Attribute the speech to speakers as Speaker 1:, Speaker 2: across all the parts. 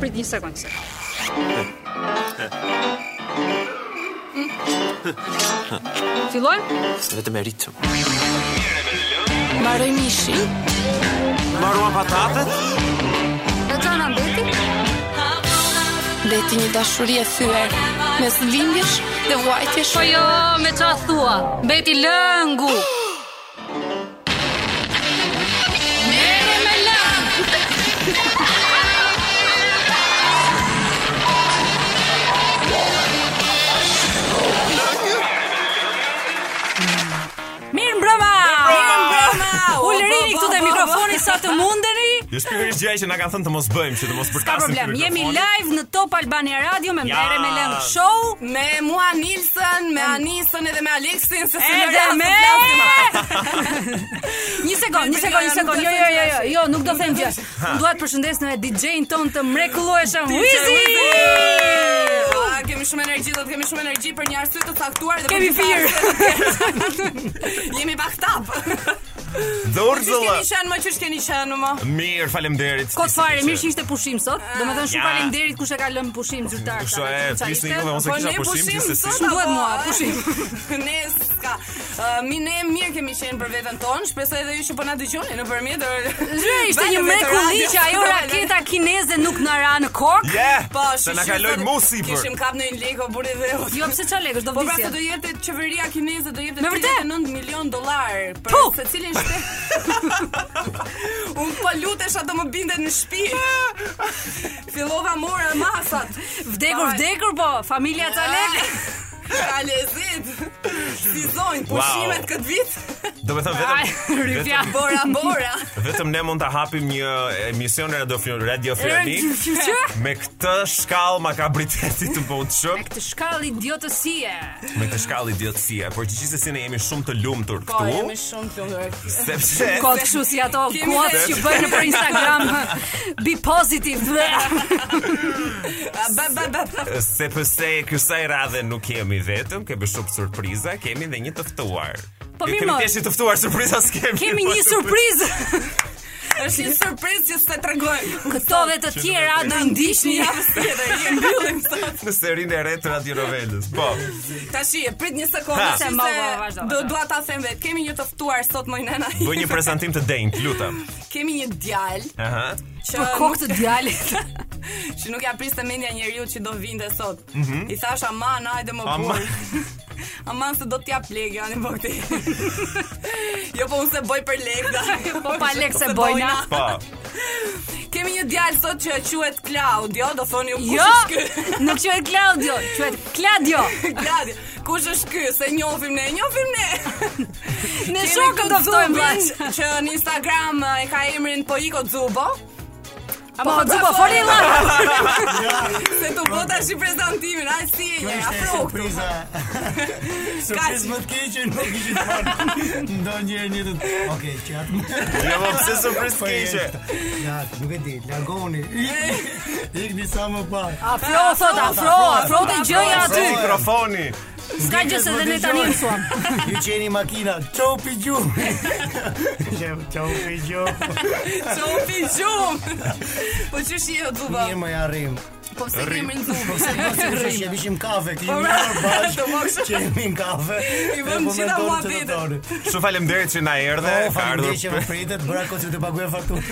Speaker 1: Prit një sekond se. Fillojmë?
Speaker 2: vetëm e ritëm.
Speaker 3: Mbaroj mishi.
Speaker 2: Mbaruan patatet?
Speaker 1: E gjana mbeti?
Speaker 3: Leti një dashuri e thyer mes lindjesh dhe vuajtjesh.
Speaker 1: Po jo, me qa thua? Beti lëngu! Mere me lëngu!
Speaker 4: Mirë mbrëma! Mirë mbrëma! Ulërini këtu te mikrofoni sa të mundeni.
Speaker 5: Ju sigurisht gjëja që na kanë thënë të mos bëjmë, që të mos përkasim.
Speaker 4: Ka problem.
Speaker 5: këtu
Speaker 4: Jemi
Speaker 5: mikrofonin.
Speaker 4: live në Top Albania Radio me Mbere
Speaker 5: Ja.
Speaker 4: me Leng Show
Speaker 6: Me mua Nilsën, me Anisën edhe me Aleksin se si
Speaker 4: edhe
Speaker 6: lëra
Speaker 4: me
Speaker 6: të flasim.
Speaker 4: Një sekond, një sekond, një sekond. Jo, jo, jo, jo, jo, nuk do them gjë. Unë dua të përshëndes në DJ-in ton të mrekullueshëm Wizi.
Speaker 6: Ah, Kemi shumë energji, do të kemi shumë energji për një arsye të caktuar dhe
Speaker 4: Kemi
Speaker 6: për firë. Jemi baktap. Çish
Speaker 5: Dorzolla.
Speaker 6: keni qenë më çish keni qenë më?
Speaker 5: Mirë, faleminderit.
Speaker 4: Kot Po fare, mirë që ishte pushim sot. Domethënë shumë
Speaker 5: Ja.
Speaker 4: faleminderit kush e ka lënë pushim zyrtar.
Speaker 5: Kështu e,
Speaker 4: Qa
Speaker 5: prisni
Speaker 4: ishte?
Speaker 5: ju dhe unë se
Speaker 6: Po,
Speaker 5: kisha
Speaker 6: ne
Speaker 5: pushim
Speaker 6: pushim
Speaker 5: se si.
Speaker 6: sot.
Speaker 4: Shumë duhet mua
Speaker 6: Apo,
Speaker 4: pushim.
Speaker 6: ne ska. Uh, mi ne mirë kemi qenë për veten tonë, shpresoj edhe ju që po na dëgjoni nëpërmjet.
Speaker 4: Zyrë ishte një mrekulli që ajo raketa kineze nuk na ra në kokë.
Speaker 5: Yeah,
Speaker 6: Po,
Speaker 5: se na
Speaker 6: shishim
Speaker 5: kaloi
Speaker 6: sot-
Speaker 5: mu sipër.
Speaker 6: Kishim kap në një leko burri dhe u
Speaker 4: Jo pse çfarë lekësh do
Speaker 6: Po pra se do
Speaker 4: vdesje.
Speaker 6: jetë qeveria kineze do jepte
Speaker 4: Me vërtet?
Speaker 6: 39 milion dollar për
Speaker 4: Puh!
Speaker 6: secilin shtet. Unë po lutesha të më bindet në shtëpi. Fillova morë masat.
Speaker 4: Vdekur vdekur po, familja ca lekë.
Speaker 6: Ka lezet. Si zonjë
Speaker 5: Ah. Wow.
Speaker 6: pushimet këtë vit.
Speaker 5: Do të thënë
Speaker 4: Ai,
Speaker 5: vetëm
Speaker 4: rrifja.
Speaker 5: vetëm-
Speaker 6: Bora bora.
Speaker 5: Vetëm ne mund ta hapim një emision radiofoni radiofonik
Speaker 4: Që?
Speaker 5: me këtë shkallë makabritetit të botshëm,
Speaker 4: Këtë shkallë idiotësie.
Speaker 5: me këtë shkallë idiotësie, por gjithsesi ne jemi shumë të lumtur
Speaker 6: Po jemi
Speaker 5: këtu,
Speaker 6: shumë të lumtur.
Speaker 5: sepse
Speaker 4: Kot kështu si ato
Speaker 6: Kemi
Speaker 4: kuat
Speaker 6: dhe-
Speaker 4: që bëjnë për Instagram. Be positive.
Speaker 6: A, Ba ba ba. ba.
Speaker 5: sepse kësaj radhe nuk kemi vetëm, kemi shumë surpriza, kemi edhe një të ftuar.
Speaker 4: Po
Speaker 5: Jo,
Speaker 4: mirë,
Speaker 5: kemi
Speaker 4: mo.
Speaker 5: thjesht një të ftuar, surpriza s'kemi.
Speaker 4: Kemi
Speaker 5: po,
Speaker 4: një
Speaker 5: surprizë.
Speaker 4: surprizë.
Speaker 6: Është një surprizë që s'e tregojmë.
Speaker 4: Këto dhe të tjera do i ndiqni.
Speaker 6: Javës tjetër i mbyllim sot.
Speaker 5: në serinë e re të Radio Novelës. Po,
Speaker 6: Tashi, e prit një sekondë
Speaker 5: Ha.
Speaker 6: se
Speaker 4: Se mba, mba, vazhdo,
Speaker 6: do
Speaker 4: vazhdo.
Speaker 6: dua ta them vetë. Kemi një të ftuar sot më nëna.
Speaker 5: bëj një prezantim të denjë, lutem.
Speaker 6: Kemi një djalë
Speaker 5: Aha.
Speaker 6: që
Speaker 4: Për
Speaker 6: nuk-
Speaker 4: kokë të djalit.
Speaker 6: që nuk ja priste mendja njeriu që do vinte sot. I thash aman, hajde
Speaker 5: Mhm.
Speaker 6: më
Speaker 5: Aman."
Speaker 6: kur. aman se do t'ja plek janë po këti. jo po unë se boj për lekda.
Speaker 4: Po pa lekë se bojna.
Speaker 5: Po.
Speaker 6: Kemi një djalë sot që quhet Claudio, do thoni ju kush
Speaker 4: Jo,
Speaker 6: është ky?
Speaker 4: nuk quhet Claudio, quhet Claudio.
Speaker 6: Claudio, kush është ky? Se njohim ne, njohim ne.
Speaker 4: Ne
Speaker 6: Kemi
Speaker 4: shokëm do
Speaker 6: këtë
Speaker 4: ftojmë
Speaker 6: Zubin
Speaker 4: vllaj.
Speaker 6: Që në Instagram e ka emrin Poiko Zubo.
Speaker 4: Po Zubo foli vllaj.
Speaker 6: Se të bota shi prezantimin, ai si e një,
Speaker 7: ishte
Speaker 6: afro këtu.
Speaker 7: surpriza. Surprizë më të keqe nuk ishit parë. Ndonjëherë një të. Okej, që atë.
Speaker 5: Jo, po pse surprizë
Speaker 7: Po,
Speaker 5: keqe?
Speaker 7: jeshtë. Ja, nuk e di, largoni. Ik- Ikni sa më parë.
Speaker 6: Ah.
Speaker 4: Afro thot, afro, afro të gjëja aty.
Speaker 7: Afro.
Speaker 5: Mikrofoni.
Speaker 4: S'ka gjë se dhe ne tani mësuam.
Speaker 7: Ju qeni makina, çopi gju. Jem çopi gju.
Speaker 6: Çopi gjumë. Po që shi e Zubo?
Speaker 7: Mirë më ja rrim.
Speaker 6: Po pse ke emrin Zubo?
Speaker 7: Që vishim kafe, kemi
Speaker 6: Ora,
Speaker 7: marrë bashkë.
Speaker 6: Po, të moshë.
Speaker 7: Qemi në kafe.
Speaker 6: I vëm
Speaker 7: e po
Speaker 6: gjitha
Speaker 7: mendonim
Speaker 6: mua
Speaker 7: që do
Speaker 6: vetën.
Speaker 7: doni.
Speaker 5: Shumë faleminderit që na erdhe,
Speaker 7: Po,
Speaker 5: ka
Speaker 7: faleminderit që më
Speaker 5: ardhur.
Speaker 7: pritet, bëra kocë të paguaj fakturën.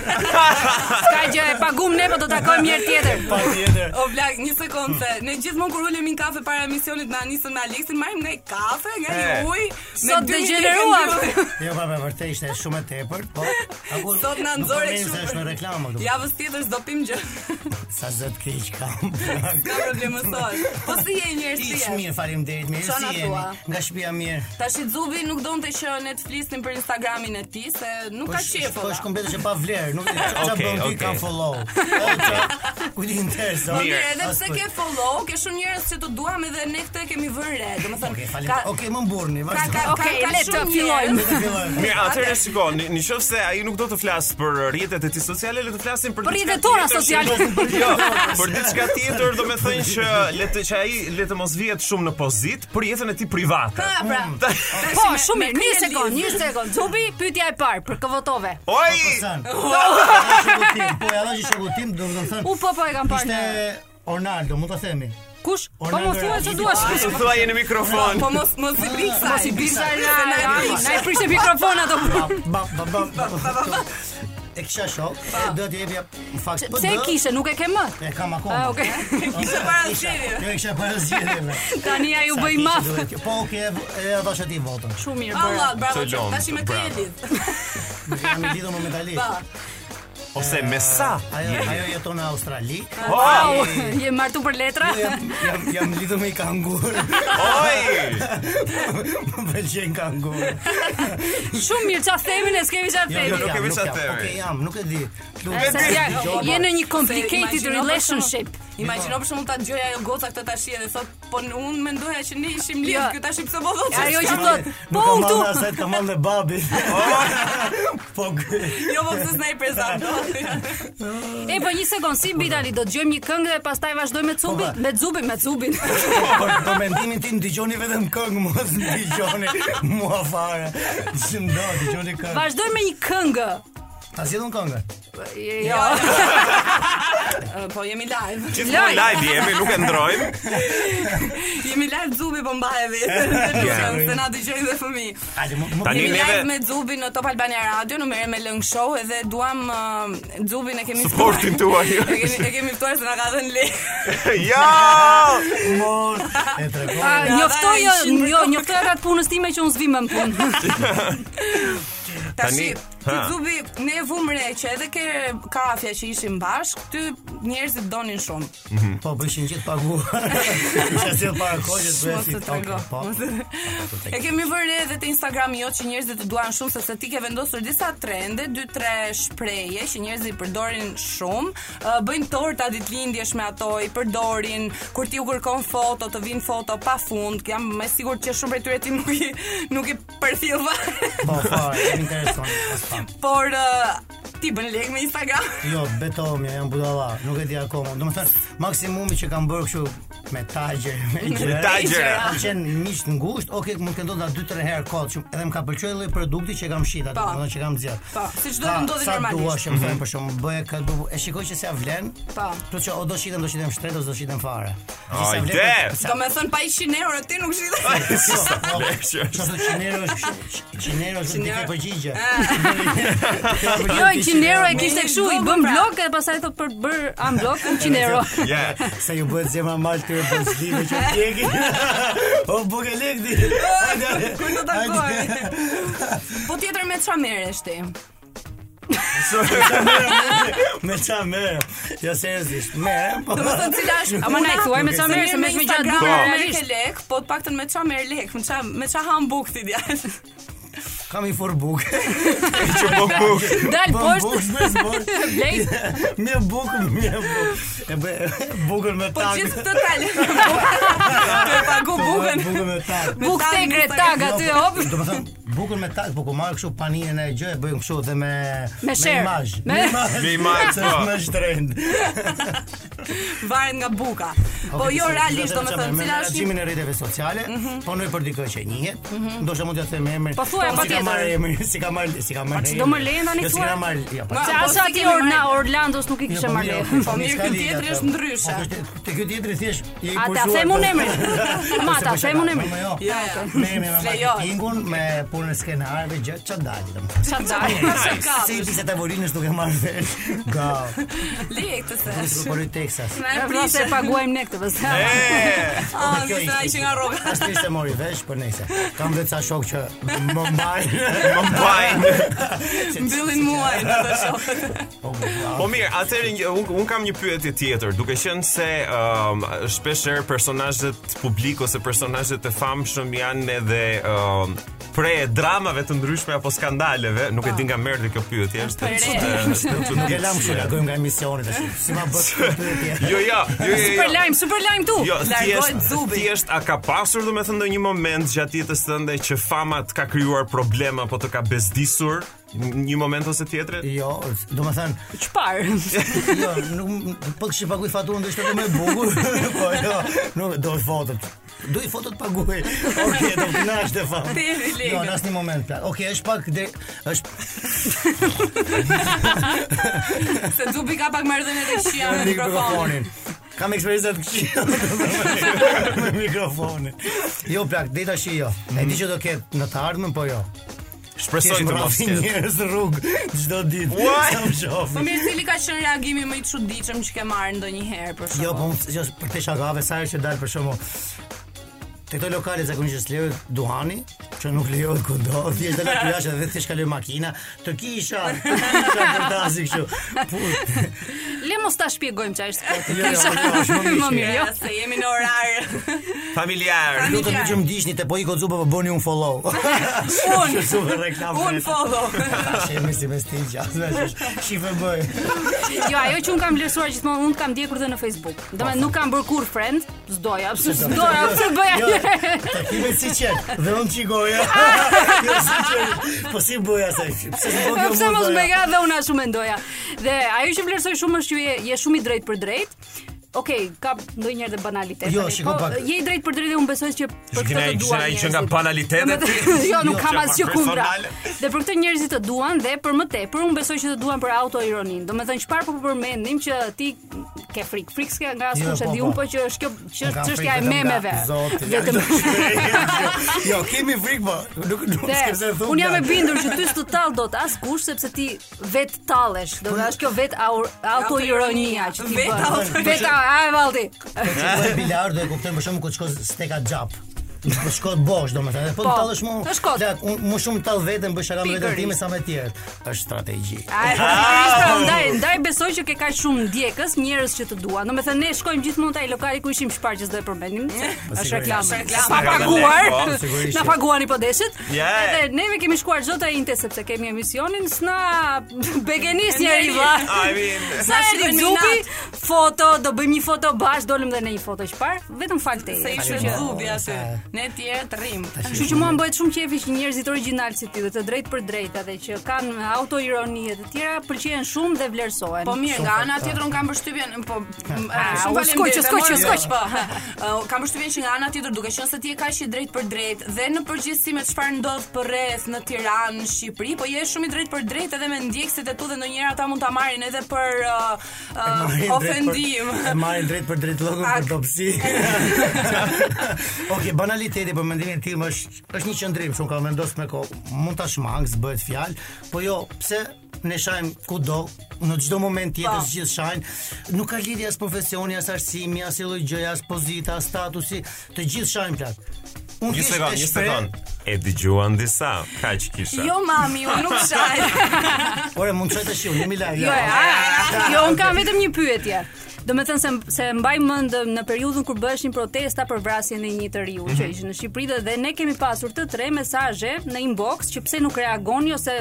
Speaker 4: S'ka gjë, e pagum ne, po do takojmë një herë tjetër.
Speaker 7: Patjetër.
Speaker 6: O vlak, një sekondë se ne gjithmonë kur ulemi në kafe para emisionit me Anisën me Aleksin, marrim nga i kafe, nga i
Speaker 7: Eh.
Speaker 5: E.
Speaker 6: ujë,
Speaker 4: Sot
Speaker 6: dy
Speaker 4: degeneruam.
Speaker 6: lekë ndryshe.
Speaker 7: Jo, pa, pa, vërtet ishte shumë e tepërt, po. Akur,
Speaker 6: Sot na nxore
Speaker 7: kështu.
Speaker 6: shumë.
Speaker 7: Është në reklamë këtu.
Speaker 6: Javës tjetër s'do pim gjë.
Speaker 7: Sa zot keq kam.
Speaker 6: Ka problemë sot. Po si je njerëz
Speaker 7: Ti
Speaker 6: ti?
Speaker 7: mirë, faleminderit, mirë
Speaker 6: Çana
Speaker 7: si jeni.
Speaker 6: thua?
Speaker 7: Nga shtëpia mirë.
Speaker 6: Tashi Zubi nuk donte që ne të flisnim për Instagramin e tij se nuk
Speaker 7: Po
Speaker 6: ka
Speaker 7: sh-
Speaker 6: qef.
Speaker 7: Po
Speaker 6: olla.
Speaker 7: është komplet që pa vlerë, nuk e di çfarë
Speaker 5: Okej,
Speaker 7: bën ti
Speaker 5: okej.
Speaker 7: ka follow. O, qa- Ku ti interes? o?
Speaker 5: Mirë,
Speaker 6: Po Edhe pse
Speaker 7: As-
Speaker 6: ke follow, ke shumë njerëz që të duam edhe ne këtë kemi vënë re. Domethënë,
Speaker 7: Okej,
Speaker 6: ka
Speaker 7: faleminderit. Okej, më mburni,
Speaker 6: ka
Speaker 7: vazhdo.
Speaker 6: ka ka,
Speaker 4: Okej,
Speaker 6: ka
Speaker 4: le të
Speaker 6: shumë njerëz.
Speaker 4: fillojmë.
Speaker 7: Të fillojmë.
Speaker 5: Mirë, atëherë shiko, në në qoftë se ai nuk do të flasë për rrjetet e tij sociale, le të flasim për
Speaker 4: Për
Speaker 5: diçka
Speaker 4: rrjetet tona
Speaker 5: tjetër që-
Speaker 4: sociale.
Speaker 5: Jo, për diçka diçka tjetër, do me thënë që le të që ai le të mos vihet shumë në pozit për jetën e tij private.
Speaker 6: Ah, pra.
Speaker 5: Ta-
Speaker 4: Po, shumë mirë. Një sekond, një sekond. Xubi, pyetja e parë për këvotove.
Speaker 5: Oj!
Speaker 7: San. Po ja shoku tim, po ja dhashi shoku tim, do të thënë.
Speaker 4: U po po e kam parë.
Speaker 7: Ishte
Speaker 4: një.
Speaker 7: Ronaldo, mund ta themi.
Speaker 4: Kush? Po
Speaker 7: Orlando
Speaker 4: mos thuaj se
Speaker 7: Rashidi.
Speaker 4: duash.
Speaker 5: Mos u thua jeni në mikrofon.
Speaker 6: Po mos mos i bik sa.
Speaker 4: Mos i bisha na.
Speaker 6: na e
Speaker 4: na-
Speaker 6: prish.
Speaker 4: Na i prishë mikrofon ato.
Speaker 7: Ba ba ba ba. ba. E kisha shok, e do të jepja në fakt PD.
Speaker 4: Pse e kishe? Nuk e ke më?
Speaker 7: E kam akoma.
Speaker 4: Ah, okay.
Speaker 6: Ishte para zgjedhjeve.
Speaker 7: Jo, e kisha para zgjedhjeve.
Speaker 4: Tani ja ju
Speaker 7: Sa
Speaker 4: bëj
Speaker 7: kishe
Speaker 4: maf.
Speaker 7: duhet kjo? Po, okay, e- e dhash atij votën.
Speaker 4: Shumë mirë bëra.
Speaker 6: Allah, bravo.
Speaker 5: Të lom,
Speaker 6: Tash i me
Speaker 5: bravo.
Speaker 6: kredit.
Speaker 7: Nuk jam i lidhur momentalisht.
Speaker 6: Pa.
Speaker 4: po,
Speaker 5: Ose me sa?
Speaker 7: Ajo ajo jeton në Australi. Po,
Speaker 5: Oj!
Speaker 4: po. Je martu për letra?
Speaker 7: Jam jam, jam lidhur me i kangur.
Speaker 5: Oj!
Speaker 7: Më pëlqen kangur.
Speaker 4: Shumë mirë çfarë themin e s'kemi çfarë
Speaker 7: Jo, jo,
Speaker 4: themi.
Speaker 5: nuk e
Speaker 7: jam,
Speaker 5: vi sa
Speaker 7: jam.
Speaker 5: themi.
Speaker 7: Okej, jam, nuk e di. jo, po. Nuk
Speaker 4: Se ja, je në një complicated
Speaker 6: Se imagjino për
Speaker 4: relationship.
Speaker 6: shembull- Imagjino për shembull ta dëgjoj ajo goca këtë tash edhe thot, po n- unë mendoja që ne ishim
Speaker 5: Jo.
Speaker 6: lidh,
Speaker 4: Ja.
Speaker 6: ky tash pse po thotë.
Speaker 4: Ajo që
Speaker 6: s'ka-
Speaker 4: thot, po
Speaker 7: Nuk ka
Speaker 4: u tu. Oh.
Speaker 7: mallë asaj, ka mallë e babi. Po gë-
Speaker 6: Jo, po pse s'na i prezanton.
Speaker 4: E po një sekond, si mbi tani do dëgjojmë një këngë dhe pastaj vazhdojmë me Cubin, me Cubin, me Cubin.
Speaker 7: Po, Për mendimin tim dëgjoni vetëm këngë, mos dëgjoni mua fare. Shumë do dëgjoni këngë.
Speaker 4: Vazhdojmë me një këngë.
Speaker 7: Ta zgjidhun këngën.
Speaker 4: Jo.
Speaker 6: Eh, Po jemi live.
Speaker 5: Gjithmonë live jemi, nuk e ndrojmë.
Speaker 6: Jemi live Zubi po mbahe vetën.
Speaker 5: Ja.
Speaker 6: Se na dëgjojnë dhe fëmijë.
Speaker 7: Hajde, më më
Speaker 5: Tani
Speaker 6: Jemi
Speaker 5: neve-
Speaker 6: live me Zubin në Top Albania Radio, në merrem me Lëng Show edhe duam uh, Zubin e kemi
Speaker 5: Supportin tuaj.
Speaker 6: E kemi e kemi ftuar se na ka dhënë le.
Speaker 5: Jo!
Speaker 7: mos e tregoj.
Speaker 4: A, Njoftoj, jo, jo, njoftoj ata të punës time që unë zvi më në punë.
Speaker 6: Tashi,
Speaker 5: Tani,
Speaker 6: ti
Speaker 5: ha.
Speaker 6: Zubi ne vum re që edhe ke kafja që ishim bashk, ty njerëzit donin shumë.
Speaker 7: Po bëjshin gjithë paguar. Isha sjell para kohës se
Speaker 6: Mos të trego.
Speaker 7: Po.
Speaker 6: Mos të- E kemi vërë re edhe te Instagrami jot që njerëzit të duan shumë sepse ti ke vendosur disa trende, 2-3 shprehje që njerëzit përdorin shumë, Ë, bëjnë torta ditëlindjesh me ato, i përdorin kur ti u kërkon foto, të vinë foto pa fund. Jam më e sigurt që shumë prej tyre ti nuk i nuk i përthill fare.
Speaker 7: Po, fare, më intereson. as pak.
Speaker 6: Por ë, ti bën lek me Instagram.
Speaker 7: Jo, betohem, ja, jam budalla, nuk e di akoma. Do të thënë, maksimumi që kam bërë kështu me tagjer, me gjëra.
Speaker 5: tagjera.
Speaker 7: Ka qenë miq të ngushtë, okay, mund të ndodha 2-3 herë kot, që edhe më ka pëlqyer lloji produkti që kam shit atë,
Speaker 6: Po.
Speaker 7: domethënë që kam zgjedh.
Speaker 6: Po, si çdo të ndodhi
Speaker 7: Sa
Speaker 6: normalisht.
Speaker 7: dua, që më thënë për shkak, bëj këtu, e shikoj që s'ia vlen.
Speaker 6: Po.
Speaker 7: Plus që o do shitem, do shitem shtret ose do shitem fare. Që s'ia
Speaker 5: Ajde!
Speaker 7: vlen,
Speaker 6: Do me thënë pa 100 euro ti nuk shite.
Speaker 7: Jo, çfarë qinero është qinero është dikë përgjigje.
Speaker 4: Jo, Qinero e kishte kështu, i bëm blok dhe pastaj thot për bër am blok Qinero.
Speaker 5: Ja.
Speaker 7: Sa ju bëhet zema mal të bën zgjidhje që pjeki. O bukë lekdi.
Speaker 6: Kur do takoj? Po tjetër me çfarë merresh ti?
Speaker 7: Me ça merr? Jo seriozisht, merr. Po.
Speaker 6: Do të thënë cila është.
Speaker 4: Ama na i thuaj me
Speaker 7: Nuk e
Speaker 4: çfarë merr se me
Speaker 6: me
Speaker 4: me gjatë
Speaker 6: Instagram
Speaker 4: dyre
Speaker 6: merr
Speaker 4: normalisht.
Speaker 6: ke lek, po të paktën me çfarë merr lek, me çfarë me çfarë han buk ti djalë.
Speaker 7: Kam i for bukë.
Speaker 5: Që po buk.
Speaker 4: Dal
Speaker 7: Po
Speaker 4: poshtë.
Speaker 7: bukë s'mes bukë.
Speaker 4: Blej.
Speaker 7: Mje bukë, mje bukë. E bë bukën me
Speaker 6: Po
Speaker 7: tag.
Speaker 6: gjithë këtë talë. Të e pagu bukën.
Speaker 7: Bukën me tag.
Speaker 4: Buk te gretag aty hop.
Speaker 7: Do të thon, bukën me tag, po ku marr kështu paninen e gjë, e bëjmë kështu dhe me
Speaker 4: Me share.
Speaker 7: imazh.
Speaker 4: Me-
Speaker 7: imazh.
Speaker 5: Me imazh,
Speaker 7: Se
Speaker 5: po.
Speaker 7: është më shtrend.
Speaker 6: Varet nga buka. Po jo realisht domethënë cila është një- Mhm.
Speaker 7: menaxhimin e rrjeteve sociale, punoj për dikë që njihet, ndoshta mund t'ja them emrin.
Speaker 4: Po thuaj,
Speaker 7: si ka
Speaker 4: patjetër.
Speaker 7: marrë emrin, si ka marrë, si ka marrë.
Speaker 4: çdo më lejnë tani
Speaker 7: Jo, si
Speaker 4: thuaj.
Speaker 7: ka marrë, jo, po.
Speaker 4: Se
Speaker 6: po,
Speaker 4: as
Speaker 6: si
Speaker 4: aty
Speaker 6: kemi
Speaker 4: Orna,
Speaker 6: marrë-
Speaker 4: Orlandos nuk i
Speaker 7: Jo,
Speaker 4: kishe
Speaker 7: po,
Speaker 4: marrë.
Speaker 7: mirë,
Speaker 6: Po, mirë,
Speaker 7: s'ka
Speaker 6: ky
Speaker 7: lidhje
Speaker 6: tjetri
Speaker 7: ato.
Speaker 6: është ndryshe.
Speaker 7: Po, kjo- Te ky tjetri thjesht je i
Speaker 4: Ata
Speaker 7: kurzuar,
Speaker 4: them
Speaker 7: po.
Speaker 4: unë emrin. Ma
Speaker 7: Se
Speaker 4: ata
Speaker 7: po
Speaker 4: them
Speaker 7: shaka,
Speaker 4: unë emrin.
Speaker 7: po, jo.
Speaker 6: Ja, ja.
Speaker 7: Merrem me
Speaker 6: Lejo.
Speaker 7: marketingun, me punën e skenarëve, gjë ç'a dali domethënë.
Speaker 4: Çfarë dal?
Speaker 7: po
Speaker 6: Sa ka?
Speaker 7: Si i pisa tavolinës duke marrë vesh. Ga.
Speaker 6: Lek të se.
Speaker 7: Është po Texas.
Speaker 6: Na e
Speaker 4: Pra se
Speaker 6: prishë.
Speaker 4: paguajmë ne këtë vëzë.
Speaker 6: Ah,
Speaker 7: Kjo
Speaker 6: se ai që nga rroga.
Speaker 7: Ashtu ishte mori vesh, po nejse. Kam vetë sa shok që më mbajnë.
Speaker 5: Më mbajnë.
Speaker 6: Mbyllin muajin ato shokët.
Speaker 7: Po, po, po.
Speaker 5: Po mirë, atëherë një- un, un kam një pyetje tjetër, duke qenë se um, shpesh herë personazhet publik ose personazhet e famshëm janë edhe um, pre e dramave të ndryshme apo skandaleve, nuk e di nga merdi kjo pyetje, është
Speaker 6: Pre.
Speaker 7: Nuk e lam kështu, largojmë nga emisioni tash. Si ma bë kjo pyetje?
Speaker 5: Jo, jo, jo, jo.
Speaker 4: Super
Speaker 5: jo.
Speaker 4: lajm, super lajm tu.
Speaker 5: Jo,
Speaker 6: Largohet
Speaker 5: thjesht,
Speaker 6: zubi.
Speaker 5: thjesht a ka pasur domethënë ndonjë moment gjatë jetës tënde që fama të ka krijuar probleme apo të ka bezdisur në një moment ose tjetër?
Speaker 7: Jo, do më thënë,
Speaker 4: Çfarë?
Speaker 7: jo, nuk po kishë paguaj faturën do ishte edhe më e bukur. Po jo, nuk do i fotot. Do i fotot paguaj. Okej, do të nash të fam.
Speaker 6: Deri lekët.
Speaker 7: Jo, në asnjë moment plan. Okej, është pak de është
Speaker 6: Se Zubi ka pak marrëdhëniet e këqija me mikrofonin.
Speaker 7: Kam eksperiencë të këshia me mikrofonin. Jo, plak, deri tash jo. E di që do ketë në të ardhmen, po jo.
Speaker 5: Shpresoj
Speaker 7: Kesh
Speaker 5: të mos
Speaker 7: mbrafi
Speaker 5: ketë.
Speaker 7: njerëz në rrugë çdo ditë.
Speaker 5: What?
Speaker 7: Sa më shoh.
Speaker 6: Po mirë, cili ka qenë reagimi më i çuditshëm që ke marrë ndonjëherë për shkak?
Speaker 7: Jo, po unë- jo, për te shagave sa herë që dal për shkakun. Te këto lokale zakonisht që lejohet duhani, që nuk lejohet kudo, thjesht dal aty jashtë dhe thjesht kaloj makina, të kisha, të përdazi kështu. Put,
Speaker 4: Le mos ta shpjegojmë çfarë është koti.
Speaker 7: jo, jo, jo, është më
Speaker 4: Më mirë,
Speaker 7: mirë.
Speaker 4: jo.
Speaker 6: se jemi në orar.
Speaker 5: Familjar.
Speaker 7: Lutëm që më ndiqni te po i kocu po bëni un follow. Unë super reklamë.
Speaker 6: Un Po, follow.
Speaker 7: Shemi si mes ti gjatë. Shifë bëj.
Speaker 4: Jo, ajo që un kam vlerësuar gjithmonë, un kam ndjekur dhe në Facebook. Domethënë nuk kam bërë kur friend, s'doja, pse s'doja, pse
Speaker 7: Jo,
Speaker 4: bëja.
Speaker 7: të kime si qen, dhe unë qikoja. jo, si qen, po si bëja asaj, pse si bëja
Speaker 4: Po pse mos më ka dhe unë ashtu mendoja. Dhe ajo që vlerësoj shumë është që je, je shumë i drejtë për drejtë. Okej, ka ndonjëherë dhe banalitet.
Speaker 7: Jo,
Speaker 4: tani, po,
Speaker 7: shiko pak.
Speaker 4: je i drejtë për drejtë dhe unë besoj që për këtë
Speaker 5: Kena
Speaker 4: të
Speaker 5: i
Speaker 4: duan.
Speaker 5: kena i që nga
Speaker 4: njerëzit.
Speaker 5: banalitetet ti.
Speaker 4: jo, nuk
Speaker 7: Jo,
Speaker 4: kam
Speaker 5: që
Speaker 4: asgjë
Speaker 5: pa
Speaker 4: kundra.
Speaker 5: personale.
Speaker 4: Dhe për këtë njerëzit të duan dhe për më tepër unë besoj që të duan për autoironinë. Domethënë çfarë po përmendim që ti ke frikë. Frikë s'ke nga askush
Speaker 7: Jo, po,
Speaker 4: se di
Speaker 7: po.
Speaker 4: unë po që është kjo që
Speaker 7: Kam
Speaker 4: çështja
Speaker 7: frikë
Speaker 4: e
Speaker 7: vetëm nga
Speaker 4: memeve.
Speaker 7: Zoti.
Speaker 4: Vetëm
Speaker 7: jo, kemi frikë po. Nuk nuk
Speaker 4: Dhe,
Speaker 7: s'kem se e thon.
Speaker 4: unë jam e bindur që ty s'të tall dot askush sepse ti vet tallesh. Do të është kjo vet aur- autoironia që ti
Speaker 6: Vet
Speaker 4: bën. Vet au- a e valti.
Speaker 7: Po bilar do e kuptoj për shkakun kur shkon steka xhap. Po shkon bosh domethënë. Po
Speaker 4: Po,
Speaker 7: tallesh më.
Speaker 4: të shkot.
Speaker 7: Lak, unë më shumë tall veten bëj shaka me veten
Speaker 4: Pikërisht.
Speaker 7: time sa me të tjerët. Është strategji.
Speaker 4: Ai, pra, ndaj, ndaj besoj që ke kaq shumë ndjekës, njerëz që të duan. Domethënë ne shkojmë gjithmonë taj lokali ku ishim shparqës do e përmendim. se Është reklamë.
Speaker 6: është reklamë.
Speaker 4: Pa paguar.
Speaker 5: Po,
Speaker 7: sigurisht.
Speaker 4: Na paguani po deshit.
Speaker 5: Ja.
Speaker 4: Edhe neve kemi shkuar çdo inte sepse kemi emisionin, s'na begenis njeri vlla.
Speaker 5: I mean,
Speaker 4: Sa
Speaker 6: Na
Speaker 4: erdhi
Speaker 6: shikojnë
Speaker 4: Zubi,
Speaker 6: minat.
Speaker 4: foto, do bëjmë një foto bash, dolëm dhe në një foto çfarë? Vetëm fal teje.
Speaker 6: Se ishte
Speaker 7: Faleminderit.
Speaker 6: Zubi aty. Ne të tjerë të rrim.
Speaker 4: Kështu që mua më bëhet shumë qefi që njerëzit origjinal si ti dhe të drejtë për drejtë dhe që kanë autoironi e të tjera pëlqejnë shumë dhe vlerësohen.
Speaker 6: Po mirë, nga ana tjetër un kam përshtypjen, po m-
Speaker 4: Ah,
Speaker 6: shumë
Speaker 4: u
Speaker 6: faleminderit,
Speaker 4: skoq,
Speaker 6: e
Speaker 4: skoq,
Speaker 6: mori-
Speaker 4: skoq.
Speaker 6: Po. ha. Uh, Kam përshtypjen që nga ana tjetër duke qenë se ti je kaq i drejtë për drejtë dhe në përgjithësi me çfarë ndodh përreth në Tiranë, në Shqipëri, po je shumë i drejtë për drejtë edhe me ndjekësit e tu dhe ndonjëherë ata mund ta marrin edhe për uh, uh,
Speaker 7: Marrin drejt për-
Speaker 6: ofendim.
Speaker 7: e Marrin drejt për drejt llogun për dobësi. Okej, banaliteti për mendimin tim është është një qëndrim shumë kam vendosur me kohë. Mund ta shmang, s'bëhet fjalë, po jo, pse ne shajm kudo, në çdo moment
Speaker 6: Po.
Speaker 7: jetës gjithë shajn. Nuk ka lidhje as profesioni, as arsimi, as lloj gjëja, as pozita, as statusi, të gjithë shajn plak. Unë
Speaker 5: Një
Speaker 7: thjesht
Speaker 5: sekond,
Speaker 7: e
Speaker 5: një
Speaker 7: shpreh-
Speaker 5: sekond. E dëgjuan disa, kaq kisha.
Speaker 6: Jo mami, unë nuk shaj.
Speaker 7: Ore, mund të shoj tash unë, jemi live.
Speaker 4: Jo, a, jo, un kam vetëm një pyetje. Do me thënë se, se mbaj mend në periudhën kur bëheshin protesta për vrasjen e një të riu që ishte në Shqipëri dhe, dhe ne kemi pasur të tre mesazhe në inbox që pse nuk reagoni ose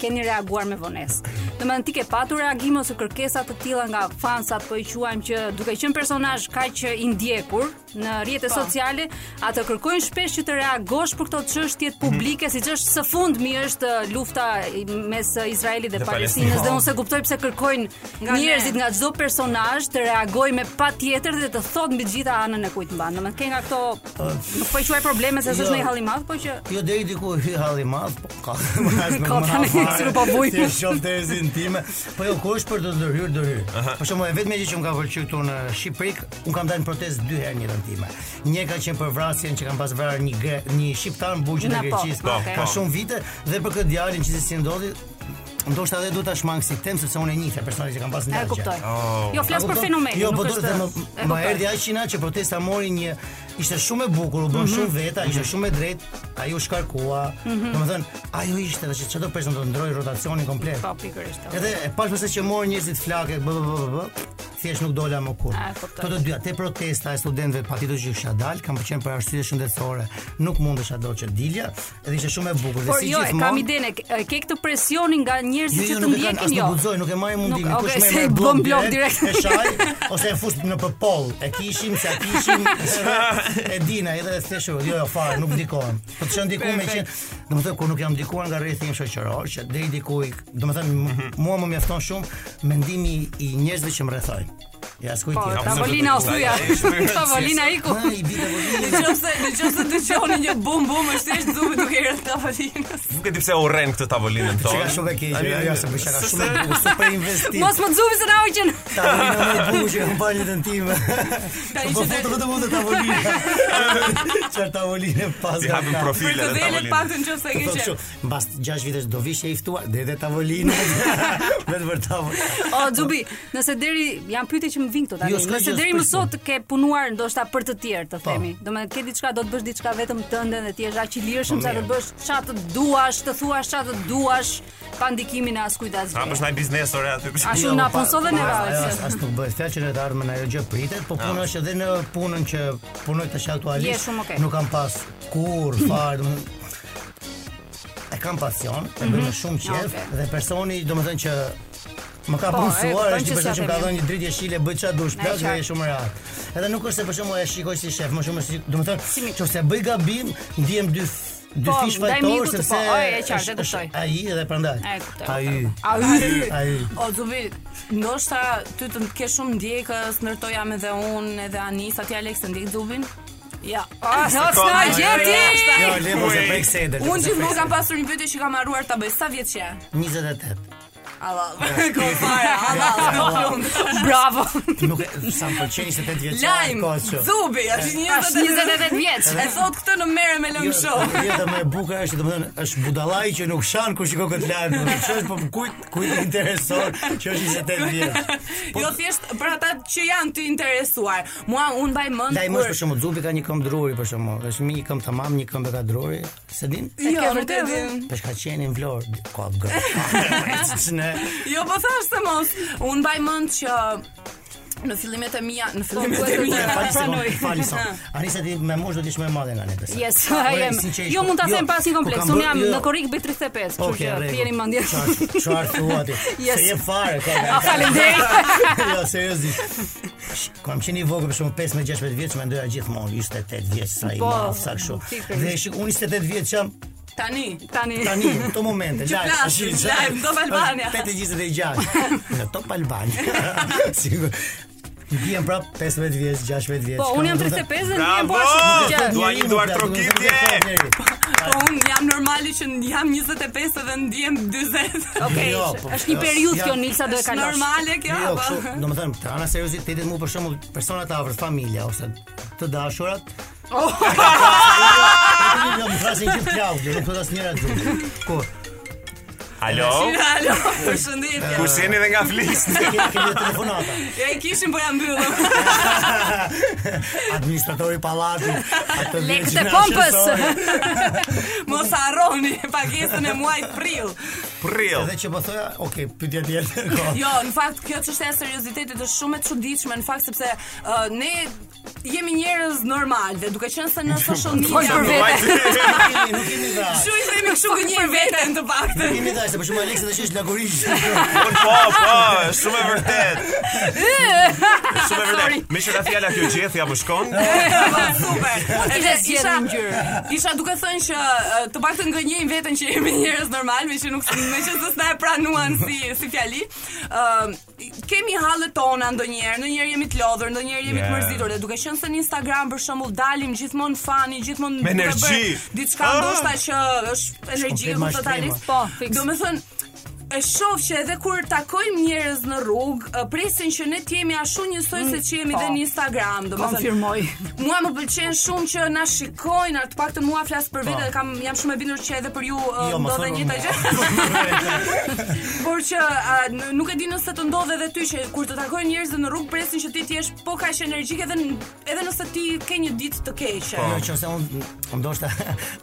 Speaker 4: keni reaguar me vonesë. Do me thënë ti ke patur reagime ose kërkesa të tilla nga fansat, po i quajmë që duke qenë personazh kaq i ndjekur në rrjetet sociale, atë kërkojnë shpesh që të reagosh për këto çështje publike, siç është së fundmi është eh, lufta i- mes eh, Izraelit dhe
Speaker 5: Dhe
Speaker 4: Palestinës
Speaker 5: Palestinës.
Speaker 4: dhe unë se kuptoj pse kërkojnë
Speaker 6: Nga ne.
Speaker 4: njerëzit nga çdo personazh të reagojë me patjetër dhe të thotë mbi të gjitha anën e kujt mban. Domethënë ke nga këto nuk po i quaj probleme se s'është
Speaker 7: Jo.
Speaker 4: në halli madh, po që
Speaker 7: Jo deri diku hy halli madh, po ka. as me
Speaker 4: Ka
Speaker 7: mra
Speaker 4: tani,
Speaker 7: fare,
Speaker 4: si nuk po vuj.
Speaker 7: Ti e shoh tezin time. Po jo kush për të ndërhyr ndërhyr. Për shembull, e vetmja gjë që më ka pëlqyer këtu në Shqipëri, un kam dalë në protestë dy herë në jetën time. Një ka qenë për vrasjen që kanë pas vrarë një gre, një shqiptar në buqën
Speaker 4: Na
Speaker 7: e
Speaker 4: po,
Speaker 7: Greqisë
Speaker 4: po,
Speaker 7: ka
Speaker 5: po.
Speaker 7: shumë vite dhe për këtë djalin që si ndodhi, ndoshta edhe duhet ta shmang si tem sepse unë e njihte personazhin që kanë pas
Speaker 4: e
Speaker 7: ndajë.
Speaker 4: kuptoj. Jo, flas për fenomenin,
Speaker 7: Jo, po
Speaker 4: nuk
Speaker 7: do
Speaker 4: është.
Speaker 7: të
Speaker 4: e
Speaker 7: më më
Speaker 4: kuptoj.
Speaker 7: erdhi aq qina që protesta mori një ishte shumë e bukur, u bën
Speaker 4: Mhm.
Speaker 7: shumë veta, ishte shumë e drejtë, ajo u shkarkua. Domethënë, ajo ishte tash çdo person do të ndroi rotacionin komplet.
Speaker 4: Po pikërisht.
Speaker 7: Edhe e pash pse që morën njerëzit flake, bë bë bë bë, bë. thjesht nuk dola më kur.
Speaker 4: A, kuptoj.
Speaker 7: Këto të dyja, te protesta e studentëve patjetër që kisha dal, kam pëlqen për arsye shëndetësore. Nuk mundesha dot që dilja, edhe ishte shumë e bukur dhe
Speaker 4: Por
Speaker 7: si
Speaker 4: jo, e kam
Speaker 7: gjithmonë.
Speaker 4: idenë, e- e ke këtë presionin nga njerëzit që të
Speaker 7: nuk e kanë,
Speaker 4: ndjekin
Speaker 7: as
Speaker 4: jo.
Speaker 7: Nuk guxoj, nuk e marr mundimin.
Speaker 4: Nuk-
Speaker 7: Kush
Speaker 4: okay,
Speaker 7: më
Speaker 4: se
Speaker 7: merr eh?
Speaker 4: bën blok direkt.
Speaker 7: E shaj ose e fus në përpoll. E kishim, se a kishim. e- e dina, edhe thjesht jo, jo fare, nuk ndikohem. Po të shën diku me që, domethënë kur nuk jam ndikuar nga rrethi im shoqëror, që deri diku, i- domethënë
Speaker 4: Mhm.
Speaker 7: m- mua më mjafton shumë mendimi i njerëzve që më rrethojnë. Ja skoj
Speaker 4: Po,
Speaker 7: ti.
Speaker 4: tavolina o thyja. Tavolina iku.
Speaker 7: Ai bita po.
Speaker 6: Në qoftë se në qoftë se dëgjoni një bum bum është thjesht dhubi duke erë tavolinës.
Speaker 5: Nuk e di pse urren këtë tavolinën
Speaker 7: Çka
Speaker 5: tonë.
Speaker 7: shumë e keq,
Speaker 5: Ani,
Speaker 7: ja, ja se bëj çka shumë e bukur, super investim.
Speaker 4: Mos më zubi se na hoqën.
Speaker 7: Tavolina më e bukur që kam parë në jetën time.
Speaker 6: Ka
Speaker 7: Po
Speaker 6: ishte
Speaker 7: foto vetëm unë të tavolina. Çfarë tavoline pas
Speaker 5: Ti
Speaker 7: ka.
Speaker 5: hapim
Speaker 6: për
Speaker 5: profile
Speaker 6: të
Speaker 5: dhe
Speaker 6: dhelet
Speaker 5: tavolinën.
Speaker 6: pak të në qoftë se
Speaker 7: Po
Speaker 6: ke
Speaker 7: thotë
Speaker 6: qenë.
Speaker 7: kështu, mbas 6 vitesh do vish e i ftuar, dhe edhe tavolinë. Vetë për tavolinë.
Speaker 4: O Zubi, nëse deri jam pyetje që më vin këto tani.
Speaker 7: Jo, s'ka
Speaker 4: nëse
Speaker 7: gjë,
Speaker 4: deri
Speaker 7: s'ka
Speaker 4: më
Speaker 7: gjë.
Speaker 4: sot ke punuar ndoshta për të tjerë, të
Speaker 7: Po.
Speaker 4: themi. Domethënë ke diçka, do të bësh diçka vetëm tënde dhe ti je aq i lirshëm
Speaker 7: Po,
Speaker 4: sa të
Speaker 7: mirë.
Speaker 4: bësh çfarë të duash, të thuash çfarë të duash, pa ndikimin e askujt
Speaker 5: Ha,
Speaker 7: po,
Speaker 4: asgjë.
Speaker 5: për shtaj biznes ore aty.
Speaker 4: A shumë na punso dhe neve
Speaker 7: As as nuk bëhet fjalë që në të ardhmen ajo gjë pritet, po puna është edhe në punën që punoj tash aktualisht.
Speaker 4: Je shumë okay.
Speaker 7: Nuk kam pas kur fare, domethënë e kam pasion, e
Speaker 4: Mhm.
Speaker 7: bëj me shumë qejf
Speaker 4: Okay.
Speaker 7: dhe personi domethënë që Më ka
Speaker 4: Po, e, kuptoj
Speaker 7: punësuar, është
Speaker 4: që
Speaker 7: një person
Speaker 4: s'ka
Speaker 7: që më ka
Speaker 4: themi.
Speaker 7: dhënë një dritë jeshile, bëj çfarë dush, plazh dhe
Speaker 4: qartë.
Speaker 7: je shumë e rahat. Edhe nuk është se për shembull e shikoj si shef, më shumë si,
Speaker 4: Si
Speaker 7: domethënë,
Speaker 4: mik.
Speaker 7: nëse bëj gabim, ndiem dy f- dy
Speaker 4: Po,
Speaker 7: fish
Speaker 4: ndaj
Speaker 7: fajtor
Speaker 4: mikut,
Speaker 7: sepse
Speaker 4: po, o, e qartë, e
Speaker 7: është-
Speaker 4: kuptoj.
Speaker 7: është Ai dhe prandaj.
Speaker 4: E, kuptoj,
Speaker 7: Ai.
Speaker 4: Au.
Speaker 7: Ai.
Speaker 6: O Zubi, ndoshta ty të ke shumë ndjekës, ndërto jam edhe unë, edhe Anisa, ti Alex të ndjek Zubin? Ja.
Speaker 4: Ah, s'ka
Speaker 5: Sekonda,
Speaker 4: gjeti.
Speaker 7: Jo, le mos e prek sedel.
Speaker 6: Unë gjithmonë kam pasur një pyetje që kam harruar ta bëj. Sa vjeç je?
Speaker 7: 28.
Speaker 6: Allah. Ko fare, Allah.
Speaker 4: Bravo.
Speaker 7: Nuk e sa më pëlqen 28 vjeç.
Speaker 6: Lajm. Zubi, është
Speaker 4: Tash 28 vjeç.
Speaker 7: Po,
Speaker 6: E thot këtë në merre me
Speaker 7: Jo,
Speaker 6: lëmë show.
Speaker 7: Jeta më e bukur është, domethënë, është budallaj që nuk shan kur shikon këtë lajm. domethënë, Ç'është po kujt kujt i intereson që është 28 vjeç.
Speaker 6: Jo thjesht për ata që janë të interesuar. Mua un mbaj mend
Speaker 7: Lajm është për shembull Zubi ka një këmbë druri për shembull. Është mi një këmbë tamam, një këmbë ka druri. Se din?
Speaker 6: Jo,
Speaker 4: Ke
Speaker 6: nuk e
Speaker 4: vërtet,
Speaker 6: di.
Speaker 7: Për shka qeni në Vlorë, ka gë. Ne.
Speaker 6: Jo, po thash se mos. Un mbaj mend që në fillimet e mia, në fillimet e mia.
Speaker 7: Fali son, fali son. Anisa ti me mosh do të ish më e madhe nga ne besoj.
Speaker 4: Yes,
Speaker 7: Po,
Speaker 4: I am.
Speaker 7: sinqerisht,
Speaker 4: Jo mund ta
Speaker 7: jo,
Speaker 4: them pas një
Speaker 7: kur
Speaker 4: kompleks.
Speaker 7: kam
Speaker 4: Unë
Speaker 7: bërë-
Speaker 4: jam
Speaker 7: jo.
Speaker 4: në korik bëj 35, kështu
Speaker 7: Okej,
Speaker 4: që
Speaker 7: Po, rregull.
Speaker 4: t'jeni mendje.
Speaker 7: Çfarë- Çfarë thua ti?
Speaker 4: Yes.
Speaker 7: Se je fare ka.
Speaker 4: A, faleminderit.
Speaker 7: jo, seriozisht. Sh- Kur jam qenë i vogël për shkakun 15-16 vjeç, mendoja gjithmonë 28 vjeç sa i
Speaker 4: Po,
Speaker 7: madh, sa kështu.
Speaker 4: pikërisht.
Speaker 7: Dhe shik, unë 28 vjeç jam
Speaker 6: Tani.
Speaker 4: Tani.
Speaker 7: tani në këto momente, live,
Speaker 6: flasim,
Speaker 7: tash,
Speaker 6: live, në Top Albania.
Speaker 7: 8:26. Në Top Albania. Sigur. I vjen prap 15 vjeç, 16 vjeç.
Speaker 4: Po,
Speaker 7: Ka Ah,
Speaker 4: unë jam
Speaker 7: mundë-
Speaker 4: 35 dhe nuk jam
Speaker 5: Bravo!
Speaker 4: po ashtu që.
Speaker 5: Dua një duar trokitje.
Speaker 6: Po un jam normali që jam 25 edhe ndjem 40.
Speaker 4: Okej,
Speaker 7: Jo, po,
Speaker 4: është një
Speaker 7: jo,
Speaker 4: periudhë kjo
Speaker 7: ja,
Speaker 4: Nilsa do e
Speaker 6: Është
Speaker 4: kalosh.
Speaker 6: normale kjo Po.
Speaker 7: Jo,
Speaker 6: apo?
Speaker 7: kështu, domethënë, të ana seriozitetit mu për shembull persona të afërt, familja ose të dashurat. Oh. Jo, më frasin gjithë Claudio, nuk thot asnjëra gjë. Kur
Speaker 5: Alo?
Speaker 6: Alo, përshëndetje.
Speaker 5: Kush jeni dhe nga flisni?
Speaker 7: ke ke një telefonata,
Speaker 6: Ja e kishim po ja mbyllëm.
Speaker 7: administratori i pallatit, atë
Speaker 4: Lekët
Speaker 7: vjeqin
Speaker 4: e pompës.
Speaker 7: ascensori.
Speaker 6: Mos harroni pagesën e muajit prill.
Speaker 5: Prill.
Speaker 7: Edhe që po thoja, okay, pyetja tjetër. ko.
Speaker 6: Jo, në fakt kjo çështja e seriozitetit është shumë e çuditshme në fakt sepse ë, ne jemi njerëz normal dhe duke qenë se në social
Speaker 4: Fol për
Speaker 6: media
Speaker 4: vete.
Speaker 7: Nuk kemi- Nuk kemi dha.
Speaker 6: Kështu i themi kështu gënjer veten të
Speaker 7: Nuk
Speaker 6: paktën.
Speaker 7: kemi dha, se për shembull Aleksi tash është lagurisht.
Speaker 5: Un po, po, është shumë e vërtet. Është Shumë e vërtet. Me qëra fjala kjo gjethja më shkon?
Speaker 6: Po, Super. Edhe
Speaker 4: zgjedhur
Speaker 6: isha
Speaker 4: ngjyrë.
Speaker 6: Isha duke thënë që ë, të paktën gënjejm veten që jemi njerëz normal, me që nuk me që s'na e pranuan si si fjali. Ëm kemi hallet tona ndonjëherë, ndonjëherë jemi të lodhur, ndonjëherë jemi të
Speaker 5: Yeah.
Speaker 6: mërzitur dhe duke qenë se në Instagram për shembull dalim gjithmonë fani, gjithmonë
Speaker 5: Me
Speaker 6: duke
Speaker 5: energji.
Speaker 6: bërë diçka
Speaker 5: Ah.
Speaker 6: ndoshta që është energji
Speaker 7: Komplet
Speaker 6: totalisht.
Speaker 7: mashtrima.
Speaker 4: Po, fiks.
Speaker 6: Do me thënë, e shoh që edhe kur takojmë njerëz në rrugë, e, presin që ne të jemi ashtu njësoj se që jemi
Speaker 4: po.
Speaker 6: dhe në Instagram, do me thënë.
Speaker 4: Konfirmoj.
Speaker 6: Mua më pëlqen shumë që na shikojnë, atë paktën mua flas për vete,
Speaker 7: Po.
Speaker 6: dhe kam jam shumë e bindur që edhe për ju
Speaker 7: Jo,
Speaker 6: jo,
Speaker 7: më
Speaker 6: ndodhe
Speaker 7: thonë
Speaker 6: një të
Speaker 7: mua.
Speaker 6: gjë. Por që a, n- nuk e di nëse të ndodhe edhe ty që kur të takojnë njerëz në rrugë presin që ti të jesh po kaq energjik edhe n- edhe nëse ti ke një ditë të keqe.
Speaker 7: Jo, që se unë unë ndoshta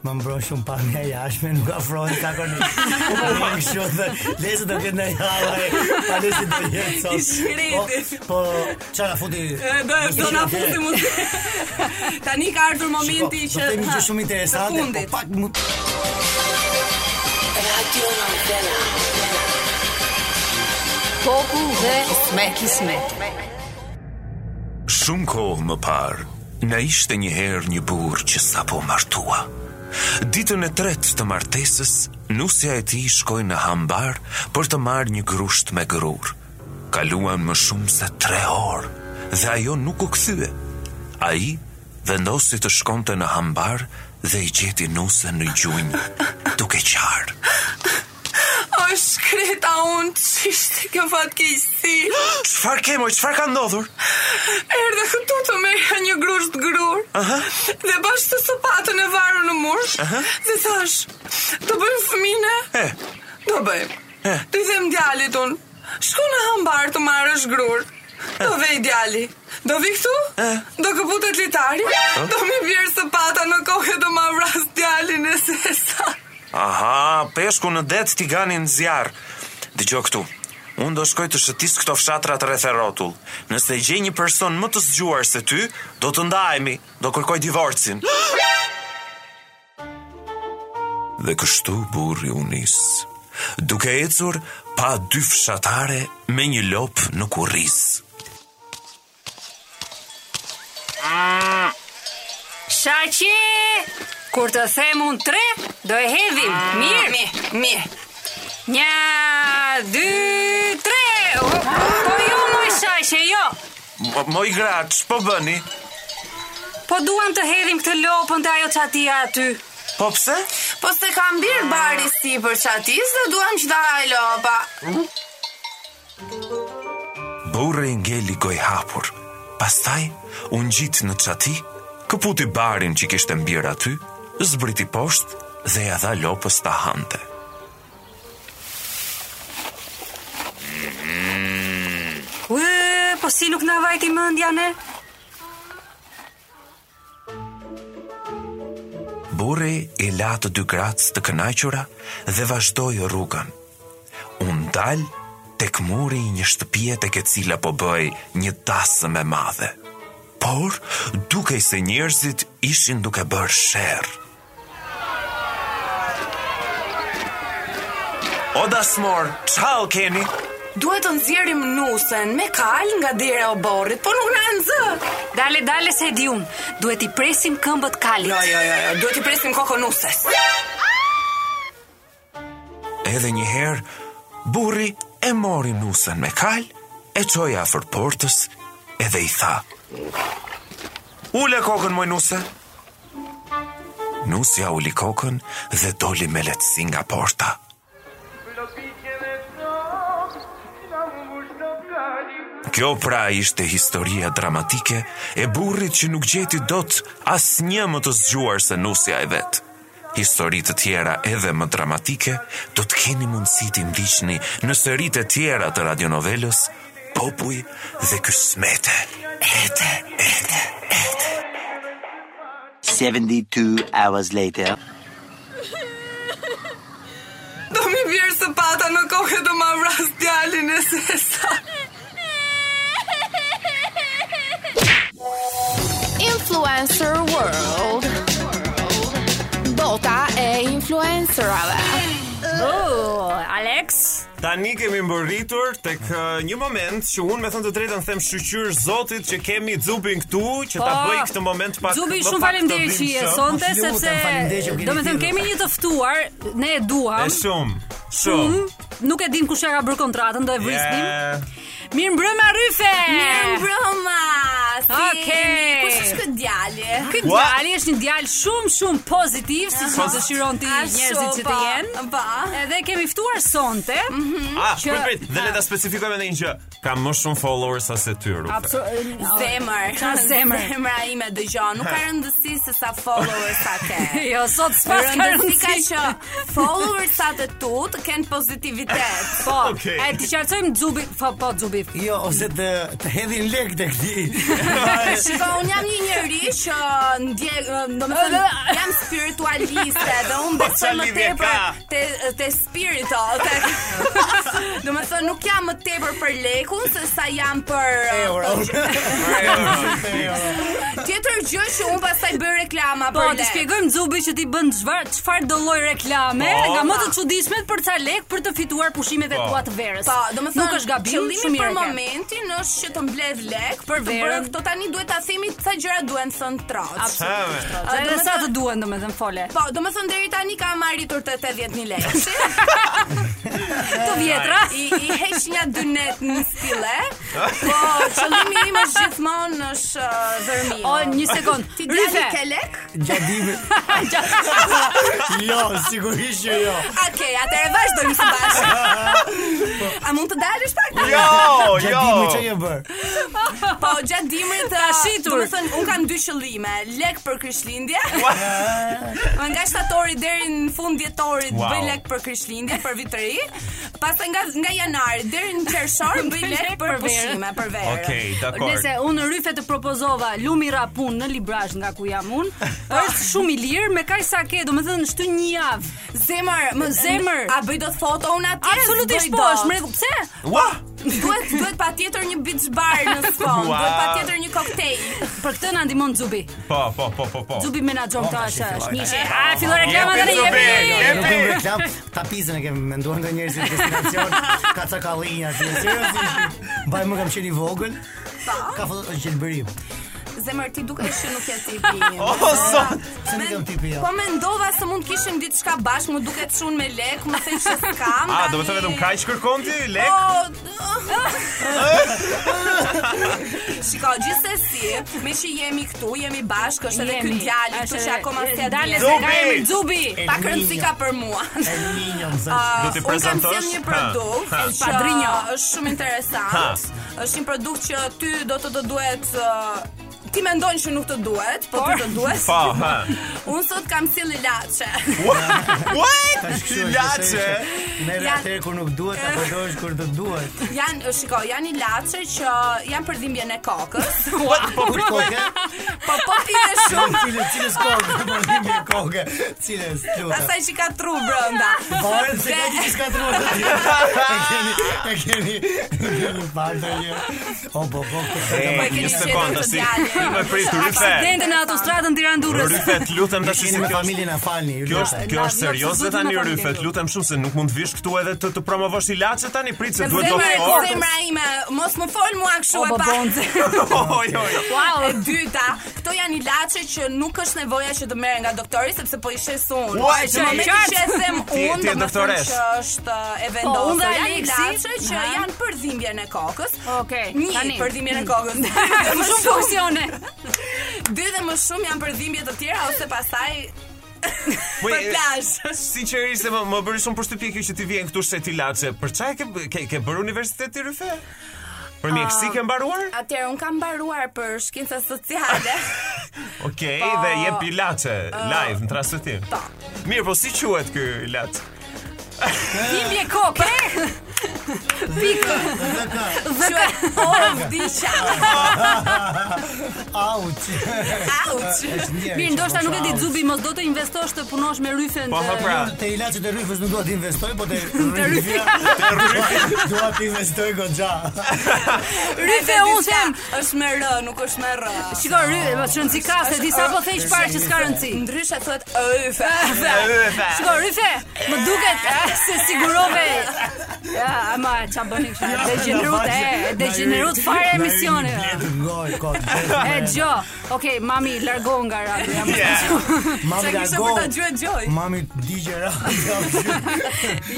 Speaker 7: më mbron shumë pa mja jashme, nuk afrojnë ka koni. Unë po pak kështu dhe Lezi do ketë në java e Pa lezi do jetë sot
Speaker 6: I shkretit.
Speaker 7: Po, po qa na futi
Speaker 6: Do do na futi mu. Tani ka ardhur
Speaker 7: Shiko,
Speaker 6: momenti
Speaker 7: Po, Do
Speaker 6: që
Speaker 7: themi
Speaker 6: ha,
Speaker 7: që shumë
Speaker 6: të
Speaker 7: interesante Po
Speaker 6: fundit.
Speaker 7: pak mu
Speaker 1: Koku dhe me kismet.
Speaker 8: Shumë kohë më parë, në ishte një herë një burë që sapo martua. Ditën e tretë të martesës, nusja e ti shkoj në hambar për të marrë një grusht me grur. Kaluan më shumë se tre orë dhe ajo nuk u këthyë. A i vendosi të shkonte në hambar dhe i gjeti nusën në gjunjë duke qarë.
Speaker 6: O shkreta unë Qishtë kjo fatë kejsi
Speaker 2: Çfarë ke moj, çfarë ka ndodhur?
Speaker 6: Erdhe këtu të merja një grusht grur Dhe bashkë të sopatën e varu në mursh Dhe thash Të bëjmë fëmine
Speaker 2: E.
Speaker 6: Do bëjmë Të i them djalit unë Shko në hambar të marrësh grur Do vej djali Do vi këtu? Do këputet litari? Do mi vjerë sopata në kohë Do ma vras djalin e sesa
Speaker 2: Aha, peshku në det t'i ganin zjarr. Dëgjoj këtu. Unë do shkoj të shëtis këto fshatrat rreth e rrotull. Nëse gjej një person më të zgjuar se ty, do të ndahemi, do kërkoj divorcin.
Speaker 8: Dhe kështu burri u nis. Duke ecur pa dy fshatare me një lop në kurriz.
Speaker 4: Shaqi! Kur të them unë tre, do e hedhim. Ah, Mirë? Mirë, mirë. Një, dy, tre! O, po jo, moj shaqe, jo.
Speaker 2: Mo- Moj gra, ç'po bëni?
Speaker 4: Po duam të hedhim këtë lopën të ajo qatia aty.
Speaker 2: Po pse?
Speaker 6: Po se kam birë bari si për qatis dhe duam që da e lopa.
Speaker 8: Burri ngeli goj hapur. Pastaj u ngjit në çati, këputi barin që kishte mbir aty, zbriti poshtë dhe ja dha lopës ta hante.
Speaker 4: Ue, po si nuk na vajti mendja ne?
Speaker 8: Burri i la të dy gratës të kënaqura dhe vazhdoi rrugën. U ndal tek muri i një shtëpie tek e cila po bëi një dasëm e madhe. Por dukej se njerëzit ishin duke bërë sherr.
Speaker 2: O dasmor, çall keni?
Speaker 6: Duhet të nxjerrim nusën me kal nga dera e oborrit, po nuk na nxë.
Speaker 4: Dale, dale se e di unë. Duhet i presim këmbët kalit.
Speaker 6: Jo, jo, jo, jo, duhet i presim kokën nusës.
Speaker 8: Edhe një herë burri e mori nusën me kal, e çoi afër portës edhe i tha:
Speaker 2: Ule kokën moj nuse.
Speaker 8: Nusja uli kokën dhe doli me letësi nga porta. Kjo pra ishte historia dramatike e burrit që nuk gjeti dot as një më të zgjuar se nusja e vetë. Histori të tjera edhe më dramatike do të keni mundësi të ndiqni në sëritë e tjera të radionovelës Popuj dhe Kysmete. Ete, ete, ete.
Speaker 9: 72 hours later.
Speaker 6: Do mi vjerë së pata në kokë do ma vras djalin e sesa.
Speaker 3: Influencer World Bota e influencerave
Speaker 4: Oh, Alex,
Speaker 5: Tani kemi mbërritur tek ë, një moment që unë me thënë të drejtën them shqyqyr Zotit që kemi Zubin këtu që ta
Speaker 4: Po,
Speaker 5: bëj këtë moment pak.
Speaker 4: Zubi,
Speaker 5: më
Speaker 4: shumë
Speaker 5: pak të
Speaker 4: faleminderit që je
Speaker 5: bindshëm.
Speaker 4: sonte
Speaker 7: Po, lutem,
Speaker 4: sepse
Speaker 7: faleminderit që u keni
Speaker 4: do të thënë
Speaker 7: thirrur.
Speaker 4: kemi një të ftuar, ne e duam.
Speaker 5: E shumë,
Speaker 4: Mm,
Speaker 5: shumë.
Speaker 4: Nuk e dim kush e ka bërë kontratën, do e vrisnim.
Speaker 5: Yeah.
Speaker 4: Mirë mbrëma Ryfe.
Speaker 6: Broma. Si
Speaker 4: Okej.
Speaker 6: jeni? Kush është ky djali?
Speaker 4: Ky djali është një djalë shumë shumë pozitiv, siç
Speaker 6: Aha.
Speaker 4: dëshiron ti njerëzit
Speaker 6: po.
Speaker 4: që të jenë.
Speaker 6: Pa.
Speaker 4: Edhe kemi ftuar sonte.
Speaker 6: Mhm.
Speaker 5: Ah,
Speaker 4: që-
Speaker 5: prit, prit, dhe le ta specifikojmë edhe një gjë. Ka më shumë followers sa se ty, Rufe.
Speaker 4: Absolutisht.
Speaker 6: Zemër.
Speaker 4: Qa zemër?
Speaker 6: Zemra ime dëgjon, nuk ka rëndësi se sa followers sa ke.
Speaker 4: Jo, sot s'pas ka
Speaker 6: Rëndësi ka
Speaker 4: rëndësi.
Speaker 6: që followersat e tu të kenë pozitivitet.
Speaker 4: Po,
Speaker 5: Okej.
Speaker 4: e ti qartësojmë Zubi, po, po Zubi.
Speaker 7: Jo, ose të, të hedhin lek të këti
Speaker 6: Shiko, unë jam një njeri që ndje, do me thënë, jam spiritualiste dhe unë besoj më
Speaker 5: lidhje
Speaker 6: tepër
Speaker 5: ka?
Speaker 6: te, te spirito. Te... do me thënë, nuk jam më tepër për lekun, se sa jam për... uh,
Speaker 7: Euro.
Speaker 6: Tjetër gjë që unë pastaj bëj reklama
Speaker 4: Po,
Speaker 6: për
Speaker 4: të
Speaker 6: lek.
Speaker 4: shpjegojmë Zubi që ti bën çfarë çfarë do lloj reklame,
Speaker 5: Po.
Speaker 4: nga më të çuditshmet për ca lek për të fituar pushimet e tua të verës.
Speaker 6: Po, do më thënë,
Speaker 4: nuk është gabim,
Speaker 6: qëllimi
Speaker 4: shumë mirë.
Speaker 6: për
Speaker 4: e ke.
Speaker 6: momentin është që të mbledh lek për
Speaker 4: Për
Speaker 6: verën.
Speaker 4: verën.
Speaker 6: Këto tani duhet ta themi sa gjëra duhen thënë troc.
Speaker 4: Absolutisht.
Speaker 6: Ha,
Speaker 4: Edhe
Speaker 6: do me
Speaker 4: sa
Speaker 6: thënë-
Speaker 4: të duhen domethënë fole.
Speaker 6: Po, do më thënë deri tani ka arritur të 80.000 lekë.
Speaker 4: Të vjetra.
Speaker 6: Pra, I, i heq një dynet në stile, po qëllimi im është gjithmonë është uh, dërmi.
Speaker 4: O, një sekond.
Speaker 6: Ti djali
Speaker 4: Ryfe.
Speaker 6: ke lek?
Speaker 7: Gjadimi. Jo, sigurisht që jo.
Speaker 6: Okej, atëherë vazhdojmë së bashku. A mund të dalësh pak?
Speaker 5: Jo,
Speaker 7: Gjadimi që
Speaker 5: jo.
Speaker 7: je bër.
Speaker 6: Po, gjatë dimrit uh,
Speaker 4: Ka shitur.
Speaker 6: Do të thënë, un kam dy qëllime, lek për Krishtlindje. nga shtatori deri në fund dhjetorit
Speaker 5: Wow.
Speaker 6: bëj lek për Krishtlindje, për vit të ri. Pastaj nga nga janari deri në qershor bëj lek për
Speaker 4: verë.
Speaker 6: pushime, për verë.
Speaker 5: Okej, dakor.
Speaker 4: Nëse unë ryfe të propozova Lumi Rapun në Librazh nga ku jam unë, është shumë i lirë me kaq sa ke, domethënë shty një javë.
Speaker 6: Zemër, më zemër.
Speaker 4: Zemër.
Speaker 6: A bëj dot foto unë atje?
Speaker 4: Absolutisht
Speaker 6: S'bëj
Speaker 4: po,
Speaker 6: dot.
Speaker 4: është mrekulli. Pse?
Speaker 5: Ua!
Speaker 6: Duhet duhet patjetër një beach bar në sfond,
Speaker 5: Wow.
Speaker 6: duhet patjetër një koktejl.
Speaker 4: Për këtë na ndihmon Zubi.
Speaker 5: Po, po, po, po, po.
Speaker 4: Zubi menaxhon këtë
Speaker 7: tash i
Speaker 4: asha, është
Speaker 7: filloj.
Speaker 4: nishe. A fillon reklama tani
Speaker 5: Jepi,
Speaker 4: jepi.
Speaker 5: Zubi,
Speaker 7: Nuk kemi reklam, tapizën e kemi menduar nga njerëzit destinacion, ka ca kallinja aty. Seriozisht. Mbaj më kam qenë i vogël. Ka fillon të gjelbërim.
Speaker 6: Zemër ti dukesh që nuk je tipi.
Speaker 5: O,
Speaker 4: po,
Speaker 5: sot.
Speaker 7: Se nuk jam tipi jo.
Speaker 6: Po mendova se mund kishim diçka bashkë, më duket shun me lek, më thënë se
Speaker 5: A,
Speaker 6: s'kam. tani-
Speaker 5: Ah, do të thënë vetëm kaq kërkon ti
Speaker 6: Po.
Speaker 5: lek?
Speaker 6: Shiko, po, gjithsesi, me që jemi këtu, jemi bashkë, është edhe ky
Speaker 4: Jemi.
Speaker 6: djalë këtu
Speaker 4: Është
Speaker 6: që
Speaker 4: edhe-
Speaker 6: akoma s'ka
Speaker 4: Dale se
Speaker 5: Zubi!
Speaker 4: ka emrin Zubi.
Speaker 6: Pa rëndësi ka për mua.
Speaker 7: El Niño, më
Speaker 6: A,
Speaker 7: thënë.
Speaker 5: Do t'i
Speaker 6: unë kam sjell
Speaker 5: prezantosh?
Speaker 6: një
Speaker 5: Ha,
Speaker 6: produkt
Speaker 5: ha.
Speaker 6: që
Speaker 4: Padrinjo.
Speaker 6: është shumë
Speaker 5: Ha.
Speaker 6: interesant. Është një produkt që ty do të të duhet uh, ti mendon që nuk të duhet, po ti të duhet.
Speaker 5: Po, ha.
Speaker 6: Unë sot kam sjell ilaçe.
Speaker 5: What?
Speaker 7: Tash kështu
Speaker 5: Ti
Speaker 7: është,
Speaker 5: laçe.
Speaker 7: është, Merr
Speaker 6: Ja.
Speaker 7: atëherë kur nuk duhet, ta përdorësh kur të duhet.
Speaker 6: Janë, shiko, janë ilaçe që janë për dhimbjen e kokës.
Speaker 7: Po kur kokë?
Speaker 6: Po po pije
Speaker 7: Shumë
Speaker 6: shumë.
Speaker 7: cilës cilës kokë, po ndihmë një kokë. Cilës lutem.
Speaker 6: Pastaj që ka tru brenda. Po,
Speaker 7: Varet se ka
Speaker 6: Dhe-
Speaker 7: diçka ka truar. E keni, e keni, e keni parë një. O po po. këtë
Speaker 5: Ej,
Speaker 7: ka
Speaker 6: e keni
Speaker 5: një
Speaker 6: qenë
Speaker 5: sekondë,
Speaker 6: të
Speaker 5: si
Speaker 6: djalë.
Speaker 5: ti më prit ryfe.
Speaker 4: Dente në autostradën Tiranë-Durrës.
Speaker 5: Ryfe, të lutem tash
Speaker 7: Keni
Speaker 5: si
Speaker 7: me
Speaker 5: kjo është.
Speaker 7: familjen e falni. ju
Speaker 5: Kjo është
Speaker 7: lutem.
Speaker 5: kjo
Speaker 4: Na-
Speaker 5: është
Speaker 4: na-
Speaker 5: serioze
Speaker 4: absolutisht
Speaker 5: tani
Speaker 4: na
Speaker 5: Ryfe,
Speaker 4: familjen.
Speaker 5: të lutem shumë se nuk mund të vish këtu edhe të të promovosh ilaçe tani prit se duhet do
Speaker 6: Zemra,
Speaker 5: të
Speaker 6: zemra ime, mos më fol mua kështu
Speaker 4: O
Speaker 6: e pa.
Speaker 4: babonze.
Speaker 5: Jo, jo, jo.
Speaker 6: Wow, e dyta, këto janë ilaçe që nuk është nevoja që të merren nga doktori sepse po i shes unë.
Speaker 5: Ua, që
Speaker 6: që
Speaker 5: e
Speaker 6: më që
Speaker 4: qartë.
Speaker 6: e them
Speaker 5: Ti-
Speaker 6: unë,
Speaker 5: ti je
Speaker 6: do të thënë
Speaker 5: doktoresh.
Speaker 6: që është e
Speaker 4: Po,
Speaker 6: vendosur.
Speaker 4: unë dhe
Speaker 6: janë
Speaker 4: Aleksi,
Speaker 6: ilaçe që
Speaker 4: ha.
Speaker 6: janë për dhimbjen e kokës.
Speaker 4: Okej,
Speaker 6: Një
Speaker 4: tani.
Speaker 6: për dhimbjen e kokës.
Speaker 4: Më shumë po. funksione.
Speaker 6: Dy dhe më shumë janë për dhimbje të tjera ose pastaj
Speaker 5: Po
Speaker 6: për plazh.
Speaker 5: Sinqerisht më më bëri shumë përshtypje kjo që ti vjen këtu se ti laçe. Për çfarë ke ke, ke bër universitet ti Ryfe? Për mjekësi ke mbaruar?
Speaker 6: Atëherë un kam mbaruar për shkenca sociale.
Speaker 5: Okej, dhe jep ilaçe live në trast të tim.
Speaker 6: Po.
Speaker 5: Mirë, po si quhet ky ilaç?
Speaker 4: Dhimbje kokë.
Speaker 6: Dhe of diçka.
Speaker 7: Auç.
Speaker 6: Auç.
Speaker 4: Mirë, ndoshta nuk e di Zubi, mos do të investosh të punosh me ryfen.
Speaker 5: Po
Speaker 4: të-
Speaker 5: ha pra.
Speaker 7: Te ilaçet e rryfës nuk dua të investoj, po te rryfja dua të investoj goxha.
Speaker 4: Ryfe unë them.
Speaker 6: është me r, nuk është me r.
Speaker 4: Shiko ryfe, mos rëndsi ka se disa po thej çfarë që s'ka rëndsi.
Speaker 6: Ndryshe thuhet ëfe.
Speaker 4: Shiko ryfe, më duket eh, se sigurove. Ja, ama ça bëni kështu? Degenerut, e, degenerut fare emisioni.
Speaker 7: Ngoj kot.
Speaker 4: E gjo. Okej, mami largo nga radio. jam-
Speaker 7: Mami
Speaker 6: Çka kishte për ta gjë gjoj.
Speaker 7: Mami digje radio.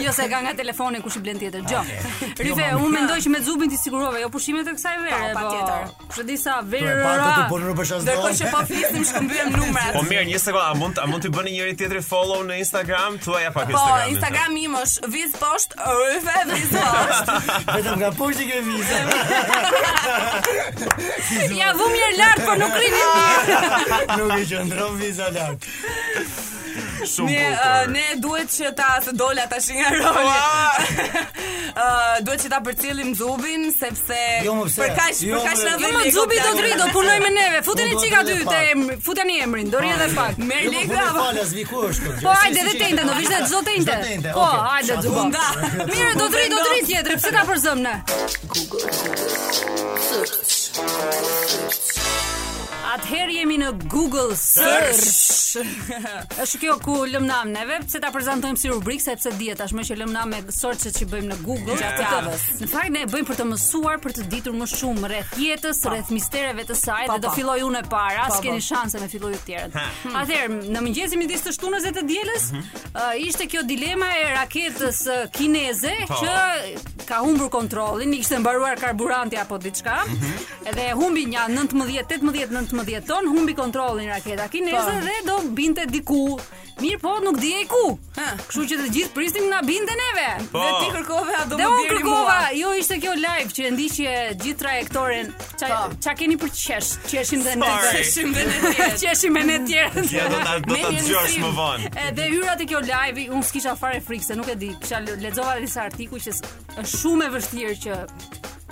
Speaker 4: Jo se ka nga telefoni kush i blen tjetër. Gjo.
Speaker 7: Ah, jo,
Speaker 4: Ryfe, unë mendoj që me Zubin ti sigurove jo pushimet e kësaj vere.
Speaker 6: Pa, Po, patjetër.
Speaker 4: Kush e di sa
Speaker 7: Po
Speaker 4: verë.
Speaker 7: pa të të
Speaker 4: ra.
Speaker 7: punë për shas.
Speaker 6: Ndërkohë që po flisim shkëmbyem numrat.
Speaker 5: Po mirë, një sekondë, a mund a mund të bëni njëri tjetri follow në Instagram? Thuaj ja pak
Speaker 6: Po,
Speaker 5: Instagramin.
Speaker 6: Instagram im është viz poshtë, ëfe, viz poshtë.
Speaker 7: vetëm nga poshtë ke vizë.
Speaker 6: Ah.
Speaker 4: Ja vum një lart, por po nuk rinin mirë.
Speaker 7: Nuk e qëndron viza lart.
Speaker 5: Shumë
Speaker 6: Ne
Speaker 5: bukur.
Speaker 6: uh, ne duhet që ta së dola tash nga roli. Ë uh, duhet që ta përcjellim Zubin sepse
Speaker 7: Jo, më pse.
Speaker 6: për kaq
Speaker 7: Jo,
Speaker 6: për kaq
Speaker 7: më-
Speaker 6: na
Speaker 4: Jo
Speaker 6: vjen
Speaker 4: më
Speaker 6: lekë
Speaker 4: Zubi do
Speaker 6: plani.
Speaker 4: të rri, do punoj me neve. Futeni
Speaker 7: Do të
Speaker 4: çika
Speaker 7: rri
Speaker 4: dy
Speaker 7: dhe
Speaker 4: te
Speaker 7: pak.
Speaker 4: emri, futeni emrin, do rri edhe pak.
Speaker 6: Merr
Speaker 7: Jo, po,
Speaker 6: lekë
Speaker 7: po,
Speaker 6: apo
Speaker 7: Falë, as viku është kjo gjë.
Speaker 4: Po
Speaker 7: Si-
Speaker 4: hajde
Speaker 7: si
Speaker 4: dhe
Speaker 7: që-
Speaker 4: tente, do vishte çdo tente.
Speaker 7: Çdo tente,
Speaker 4: Po,
Speaker 7: okay.
Speaker 4: hajde
Speaker 7: Shato.
Speaker 4: Zubo.
Speaker 6: Nga.
Speaker 4: Mirë, do të rri, do të rri tjetër, pse ta përzëm ne? Atëherë jemi në Google Search. Është kjo ku lëm nam neve, pse ta prezantojmë si rubrikë sepse dihet tashmë që lëm nam me searchet që bëjmë në Google
Speaker 6: Gjatë
Speaker 4: Këtë-
Speaker 6: javës.
Speaker 4: Në fakt ne e bëjmë për të mësuar, për të ditur më shumë rreth jetës, rreth mistereve të saj
Speaker 6: Pa,
Speaker 4: dhe do
Speaker 6: pa.
Speaker 4: filloj unë e para,
Speaker 6: Pa,
Speaker 4: s'keni
Speaker 6: pa.
Speaker 4: shanse me filloj të tjerët. Atëherë, në mëngjesin midis të shtunës dhe të dielës,
Speaker 6: Mhm.
Speaker 4: uh, ishte kjo dilema e raketës uh, kineze
Speaker 6: Po.
Speaker 4: që ka humbur kontrollin, i kishte mbaruar karburanti apo diçka,
Speaker 6: Mhm.
Speaker 4: edhe humbi një 19, 18, 19 ton, humbi kontrollin raketa kineze
Speaker 6: Po.
Speaker 4: dhe do binte diku. Mirë po, nuk dihej ku.
Speaker 6: Ha.
Speaker 4: Kështu që të gjithë prisnim na binte neve.
Speaker 5: Po.
Speaker 6: Dhe ti kërkove a do
Speaker 4: Dhe
Speaker 6: më
Speaker 4: unë
Speaker 6: bjeri
Speaker 4: kërkova,
Speaker 6: mua.
Speaker 4: jo ishte kjo live që e ndiqje gjithë trajektoren. Qa,
Speaker 6: Po.
Speaker 4: qa keni për qesh? Qeshim dhe ne
Speaker 5: Sorry.
Speaker 4: tjerë.
Speaker 6: Qeshim dhe ne tjerë.
Speaker 4: Qeshim me ne tjerë.
Speaker 5: Ja do ta do ta
Speaker 6: Me
Speaker 5: dëgjosh
Speaker 6: njësim.
Speaker 5: më vonë.
Speaker 4: Edhe hyra te kjo live, unë s'kisha fare frikë se nuk e di. Kisha le- lexova disa artikuj që s- është shumë e vështirë që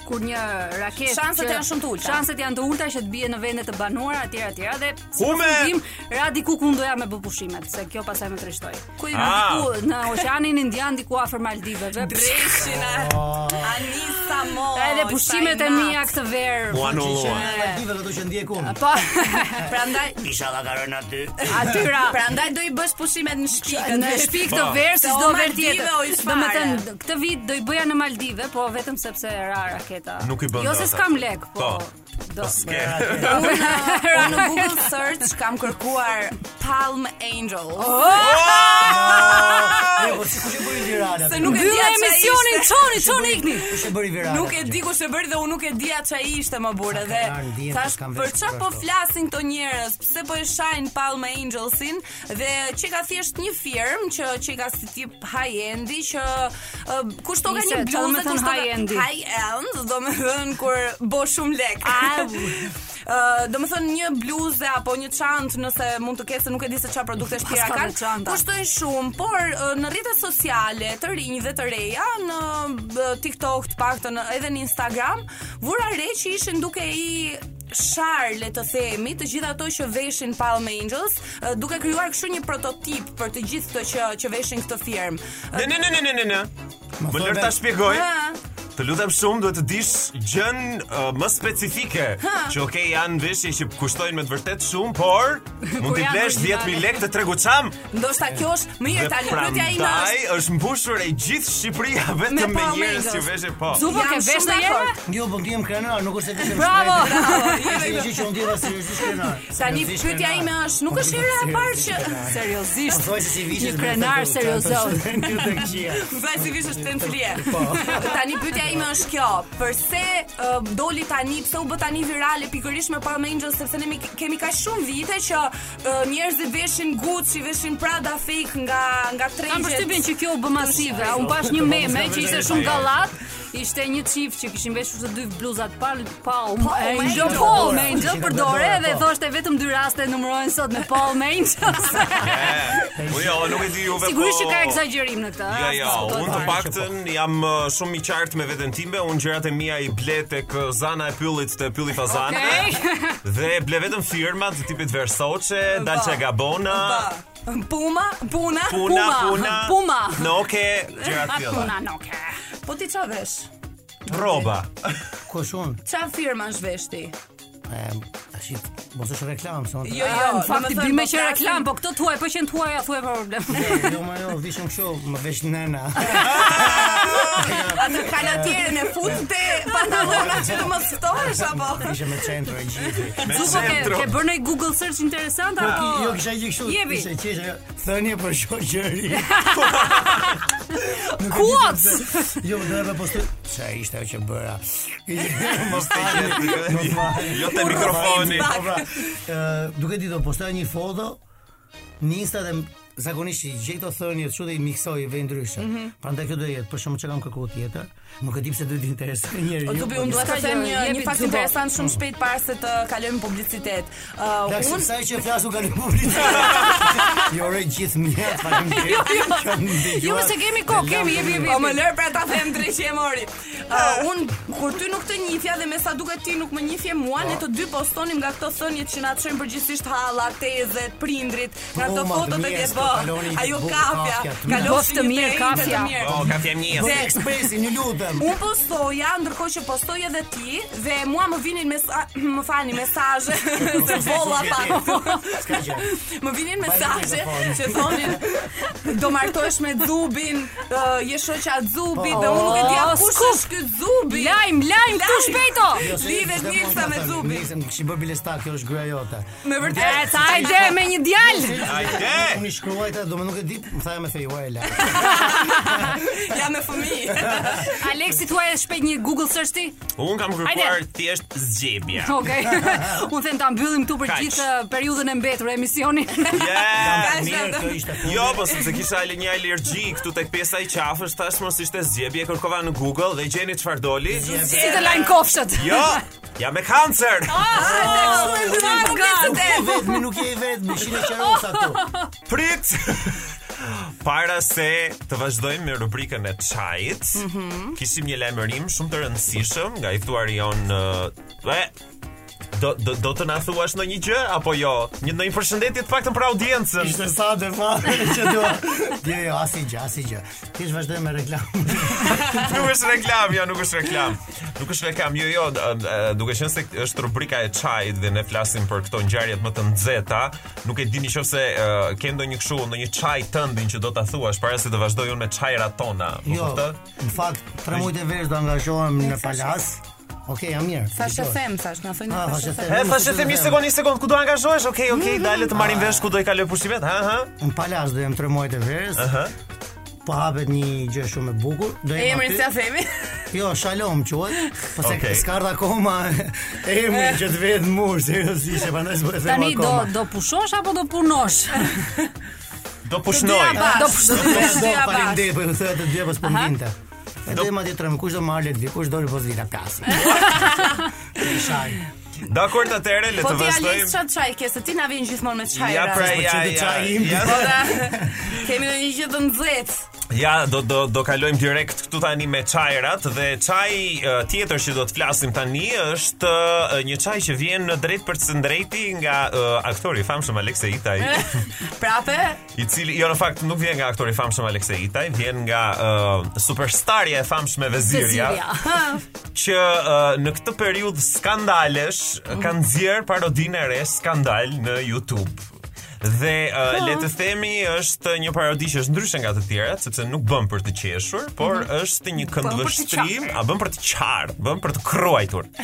Speaker 4: kur një raketë
Speaker 6: Shanset
Speaker 4: që-
Speaker 6: janë shumë të ulta.
Speaker 4: Shanset janë të ulta që të bie në vende të banuara etj etj dhe si
Speaker 5: Ku me-
Speaker 4: fundim ra diku ku doja me bë pushimet, se kjo pastaj më trishtoi.
Speaker 6: Ku po i
Speaker 5: Ah.
Speaker 4: Diku në Oqeanin Indian diku afër Maldiveve.
Speaker 6: Breshin a Anisa Mo.
Speaker 4: Edhe pushimet e
Speaker 6: Sajnat.
Speaker 4: mia këtë verë.
Speaker 5: U anulluan.
Speaker 7: Në Maldive do të që ndjek unë.
Speaker 4: Po,
Speaker 6: Prandaj
Speaker 7: Isha dha karën aty.
Speaker 4: atyra.
Speaker 6: prandaj do i bësh pushimet Pra, në shtëpi.
Speaker 4: Në
Speaker 6: këtë.
Speaker 4: shtëpi këtë
Speaker 5: Po.
Speaker 4: verë si
Speaker 6: Se o
Speaker 4: çdo verë
Speaker 6: Maldive,
Speaker 4: tjetër.
Speaker 6: o isfare.
Speaker 4: Domethënë këtë vit do i bëja në Maldive, po vetëm sepse ra raketa.
Speaker 5: Nuk i bën
Speaker 4: Jo
Speaker 5: dot
Speaker 4: se
Speaker 5: atë.
Speaker 4: s'kam lek, po.
Speaker 5: Po.
Speaker 4: Do.
Speaker 5: S'ke.
Speaker 6: Unë unë në Google search kam kërkuar Palm Angel.
Speaker 4: Oh.
Speaker 7: Jo, po si kush e bëri virale?
Speaker 6: Se
Speaker 7: atë?
Speaker 6: nuk e
Speaker 4: Mbyllë
Speaker 6: dia
Speaker 4: emisionin, çoni, çoni ikni.
Speaker 7: Kush e bëri virale?
Speaker 6: Nuk e
Speaker 7: atë?
Speaker 6: di kush e bëri dhe unë nuk e dija çai ishte më burë
Speaker 7: Sa
Speaker 6: dhe
Speaker 7: kanë ardhur, ndihem,
Speaker 6: thash
Speaker 7: s'kam
Speaker 6: për
Speaker 7: vesh
Speaker 6: çfarë
Speaker 7: për
Speaker 6: po
Speaker 7: ashtu."
Speaker 6: flasin këto njerëz, pse po e shajnë Palm Angelsin dhe që ka thjesht një firmë që që ka si tip high endi që uh, kushto ka
Speaker 4: Nise,
Speaker 6: një
Speaker 4: çfarë me
Speaker 6: bluzë
Speaker 4: thënë
Speaker 6: kushto ka-
Speaker 4: high endi?
Speaker 6: high end, do me thënë kur bo shumë lek. Ë, do të thënë një bluzë apo një çantë nëse mund të ketë se nuk e di se çfarë produkte shpira
Speaker 4: ka dhe
Speaker 6: kanë.
Speaker 4: çanta.
Speaker 6: Kushtojnë shumë, por ë, në rrjetet sociale të rinj dhe të reja, në ë, TikTok të paktën edhe në Instagram, vura re që ishin duke i shar le të themi të gjithë ato që veshin Palm Angels ë, duke krijuar kështu një prototip për të gjithë këto që që veshin këtë firmë.
Speaker 5: Ne ne ne ne ne ne ne. Më lër ta shpjegoj. Të lutem shumë duhet të dish gjën uh, më specifike. Që okay, janë veshje që kushtojnë me të vërtet shumë, por mund t'i
Speaker 4: janë
Speaker 5: blesh
Speaker 4: origjinale.
Speaker 5: 10000 lekë të treguçam.
Speaker 6: Ndoshta kjo është më
Speaker 5: Dhe
Speaker 6: herë tani pyetja ime
Speaker 5: prandaj
Speaker 6: është
Speaker 5: është mbushur e gjithë Shqipëria vetëm me
Speaker 6: Palm
Speaker 5: njerëz që
Speaker 6: Angels.
Speaker 5: veshin po.
Speaker 4: Zupo
Speaker 6: Jam
Speaker 4: ke vesh
Speaker 6: shumë
Speaker 4: në
Speaker 6: dakord.
Speaker 4: jera?
Speaker 7: Jo, po ndihem krenar, nuk është se kishim
Speaker 4: Bravo!
Speaker 7: Ishte një gjë që unë ndjeva seriozisht krenar.
Speaker 6: Tani
Speaker 7: Seriozisht
Speaker 6: pyetja
Speaker 7: krenar. Po
Speaker 6: ime është, nuk është hera e parë që seriozisht
Speaker 7: Thuaj se si vishës.
Speaker 4: Një krenar seriozot.
Speaker 6: Më thaj si vishë është tencilje. Tani pyetja ime është kjo, përse uh, doli tani, pse u bë tani virale pikërisht me Palm Angels sepse ne mi- kemi kaq shumë vite që uh, njerëzit veshin Gucci, veshin Prada fake nga nga
Speaker 4: Kam përshtypjen
Speaker 6: tregjet.
Speaker 4: që kjo u bë masive. a Unë pash një meme që ishte shumë gallat. Ishte një çift që kishin veshur të dy bluzat pa pa
Speaker 6: me
Speaker 4: angel,
Speaker 6: angel.
Speaker 4: po me angel
Speaker 7: Ishin
Speaker 4: për
Speaker 7: me
Speaker 4: dorë
Speaker 7: dorë,
Speaker 4: dhe
Speaker 7: po.
Speaker 4: thoshte vetëm dy raste numërohen sot me Paul me angel.
Speaker 5: Po jo, nuk e di juve.
Speaker 4: Sigurisht që
Speaker 5: po-
Speaker 4: ka egzagjerim në këtë. eh,
Speaker 5: Ja,
Speaker 4: rast,
Speaker 5: ja,
Speaker 4: s'kuptoj
Speaker 5: unë të
Speaker 4: fare.
Speaker 5: paktën jam uh, shumë i qartë me veten time, unë gjërat e mia i ble tek uh, zana e pyllit të pylli fazanëve. Dhe ble vetëm firma të tipit Versace, Dolce Gabbana,
Speaker 6: Pa. Puma, puna.
Speaker 5: Puna, Puna,
Speaker 4: Puma.
Speaker 5: Noke, gjërat tilla.
Speaker 4: Puna noke.
Speaker 6: Po ti ç'a vesh?
Speaker 5: Roba.
Speaker 7: Ku shon?
Speaker 6: Ç'a firma është vesh ti?
Speaker 7: Tash mos është reklam, son.
Speaker 6: Jo, jo,
Speaker 4: Në fakt
Speaker 6: domethënë,
Speaker 4: dy me
Speaker 6: po
Speaker 4: që
Speaker 6: flasim-
Speaker 4: reklam, po këto thuaj, po qen thuaj, ja thuaj pa problem.
Speaker 7: Jo, ma jo, vishëm kështu, më vesh nëna.
Speaker 6: Atë kalatjerën e fut te pantallona që të mos ftohesh apo?
Speaker 7: Ishte me centro e gjithë.
Speaker 4: Zuko ke ke bërë një Google search interesant apo?
Speaker 7: Jo, kisha gjë kështu.
Speaker 4: Jepi.
Speaker 7: Ishte qeshë thënie për shoqëri.
Speaker 4: Kuoc!
Speaker 7: Jo, do të postoj. Çfarë ishte ajo që bëra? Mos
Speaker 5: Jo te mikrofoni.
Speaker 7: Po pra, ë, duke ditë do postoj një foto në Insta dhe zakonisht që gjej këto thënie çu dhe i miksoj i vë ndryshe. Prandaj kjo do jetë, për shkakun që kam kërkuar tjetër, nuk e di pse do të interesoj njeriu. po
Speaker 6: Do bëj Po, unë dua të
Speaker 4: Ska
Speaker 6: them
Speaker 4: gjë,
Speaker 6: një
Speaker 4: jepi
Speaker 6: një fakt
Speaker 4: zubo.
Speaker 6: interesant shumë shpejt para se të kalojmë publicitet.
Speaker 4: Po
Speaker 6: Uh,
Speaker 7: Dakse
Speaker 6: unë
Speaker 7: sa që flasu kanë publicitet. Ju uroj gjithë mirë, faleminderit. që më
Speaker 4: Jo,
Speaker 7: dëgjuat.
Speaker 4: se kemi kohë, kemi, jepi, jepi.
Speaker 6: Po më lër pra ta them drejt që e mori. Uh, un kur ty nuk të njihja dhe me sa duket ti nuk më njihje mua, ne të dy postonim nga këto thënie që na çojnë përgjithsisht halla, tezet, prindrit, nga këto
Speaker 7: Bruma,
Speaker 6: fotot e
Speaker 7: dëmjes,
Speaker 6: ke
Speaker 7: po,
Speaker 6: bë.
Speaker 7: kaloni një
Speaker 6: Ajo
Speaker 7: bukë
Speaker 6: kafja,
Speaker 7: kafja, të mirë.
Speaker 6: kalofshi
Speaker 4: Boftë
Speaker 6: një
Speaker 4: mirë,
Speaker 6: terejnë të
Speaker 4: kafja.
Speaker 6: mirë.
Speaker 5: Po, ka fjem një.
Speaker 7: Dhe ekspresi, një lutem.
Speaker 6: Un postoja, ndërkohë që postoj edhe ti dhe mua më vinin mes më falni mesazhe se volla pa.
Speaker 7: S'ka gjë.
Speaker 6: Më vinin mesazhe
Speaker 7: mikrofonin.
Speaker 6: që thonin do martohesh me Zubin, ë, je shoqja e Zubit dhe unë nuk e di a kush
Speaker 4: skup.
Speaker 6: është ky Zubi.
Speaker 4: Lajm, lajm këtu shpejto.
Speaker 7: Jo, se
Speaker 6: Lidhet
Speaker 7: çdo
Speaker 6: Nilsa
Speaker 7: mund
Speaker 6: me
Speaker 7: ta them,
Speaker 6: Zubin.
Speaker 7: Nilsa, më kishin bërë bilestar, kjo është gruaja jote. Eh,
Speaker 6: Me
Speaker 4: E,
Speaker 6: vërtet.
Speaker 4: sa hajde me një djalë.
Speaker 5: Ajde!
Speaker 7: Unë i shkruaj ta, do më nuk e di, më thaja me thej, "Ua, e la."
Speaker 6: Ja me fëmijë.
Speaker 4: Aleksi thua e shpejt një Google search ti?
Speaker 5: Unë kam kërkuar
Speaker 4: Hajde.
Speaker 5: thjesht zgjebja.
Speaker 4: Okej. Unë them ta mbyllim këtu për
Speaker 5: Kaq.
Speaker 4: gjithë uh, periudhën e mbetur e emisionit.
Speaker 5: Yeah!
Speaker 7: Eh, Mirë, kjo ishte punë.
Speaker 5: Jo, po sepse kisha ale një alergji këtu tek pjesa i qafës, tash mos ishte zgjebje, kërkova në Google dhe gjeni çfarë doli.
Speaker 4: si të lajm kofshët.
Speaker 5: Jo, jam me kancer.
Speaker 6: Oh,
Speaker 7: Po vetëmi nuk je i vetëmi, shile qerosa tu.
Speaker 5: Prit. Para se të vazhdojmë me rubrikën e çajit, kishim një lajmërim shumë të rëndësishëm nga i ftuari jon ë, e Do, do, do të na thuash ndonjë gjë apo jo? Një ndonjë përshëndetje të paktën për audiencën.
Speaker 7: Ishte sa dhe fare që dua. Jo, jo, asnjë, asnjë. Ti vazhdoj me reklam.
Speaker 5: Nuk është reklam, jo, nuk është reklam. Nuk është reklam, jo, jo, d- d- duke qenë se është rubrika e çajit dhe ne flasim për këto ngjarjet më të nxehta, nuk e di nëse uh, ke ndonjë kështu, ndonjë çaj tëndin që do ta thuash para se të vazhdoj unë me çajrat tona. Po
Speaker 7: Jo,
Speaker 5: kupton?
Speaker 7: në fakt, tre mujtë e verës do angazhohem në palas. Okej, jam mirë.
Speaker 6: Sa
Speaker 7: dëgjoj.
Speaker 6: them, thash, na thonë.
Speaker 7: Ah, thashë them.
Speaker 5: E, po se themi një sekond, një sekond, ku do angazhohesh? Okej, okej,
Speaker 7: Mm-hmm.
Speaker 5: dale të marrim vesh ku do i kaloj pushimet, ha, ha.
Speaker 7: Në palas do jem tre mujtë e verës. Po hapet një gjë shumë e bukur. Do jem
Speaker 6: Emrin
Speaker 7: aty.
Speaker 6: s'ia themi.
Speaker 7: Jo, Shalom quhet. Po se
Speaker 5: Okej.
Speaker 7: s'ka ardhur akoma emri që të vetë mur, seriozisht, e prandaj s'po e them
Speaker 4: Tani do
Speaker 7: akoma.
Speaker 4: do pushosh apo do punosh?
Speaker 5: Do pushnoj.
Speaker 4: Do pushosh.
Speaker 7: Do
Speaker 6: Të dyja bashkë.
Speaker 7: faleminderit, po ju thoya të dyja pas po ndinte. Edhe madje tre kush do marr lek, kush doli po zvita kasi. Shaj.
Speaker 5: Dakor, atëherë le
Speaker 6: Po
Speaker 5: të
Speaker 6: ti Alex
Speaker 5: vazhdojmë.
Speaker 6: çfartë çaj ke se ti na vjen gjithmonë me çaj.
Speaker 5: Ja, pra,
Speaker 7: Po
Speaker 5: ja,
Speaker 7: çdo
Speaker 5: ja,
Speaker 7: çaj im.
Speaker 5: ja.
Speaker 6: Po da, Kemi ndonjë gjë të nxehtë.
Speaker 5: Ja, do do do kalojmë direkt këtu tani me çajrat dhe çaji eh, tjetër që do të flasim tani është eh, një çaj që vjen në drejt për së drejti nga eh, aktori i famshëm Aleksej Itaj,
Speaker 6: Prapë,
Speaker 5: i cili jo në fakt nuk vjen nga aktori i famshëm Aleksej Itaj, vjen nga eh, superstarja e famshme Vezirja, që eh, në këtë periudhë skandalesh kanë nxjerr parodinë e re skandal në YouTube. Dhe eh, le të themi është një parodi që është ndryshe nga të tjerat, sepse nuk bën për të qeshur, por është një këndvështrim, a bën Mhm. për të qartë, bën për të kruajtur.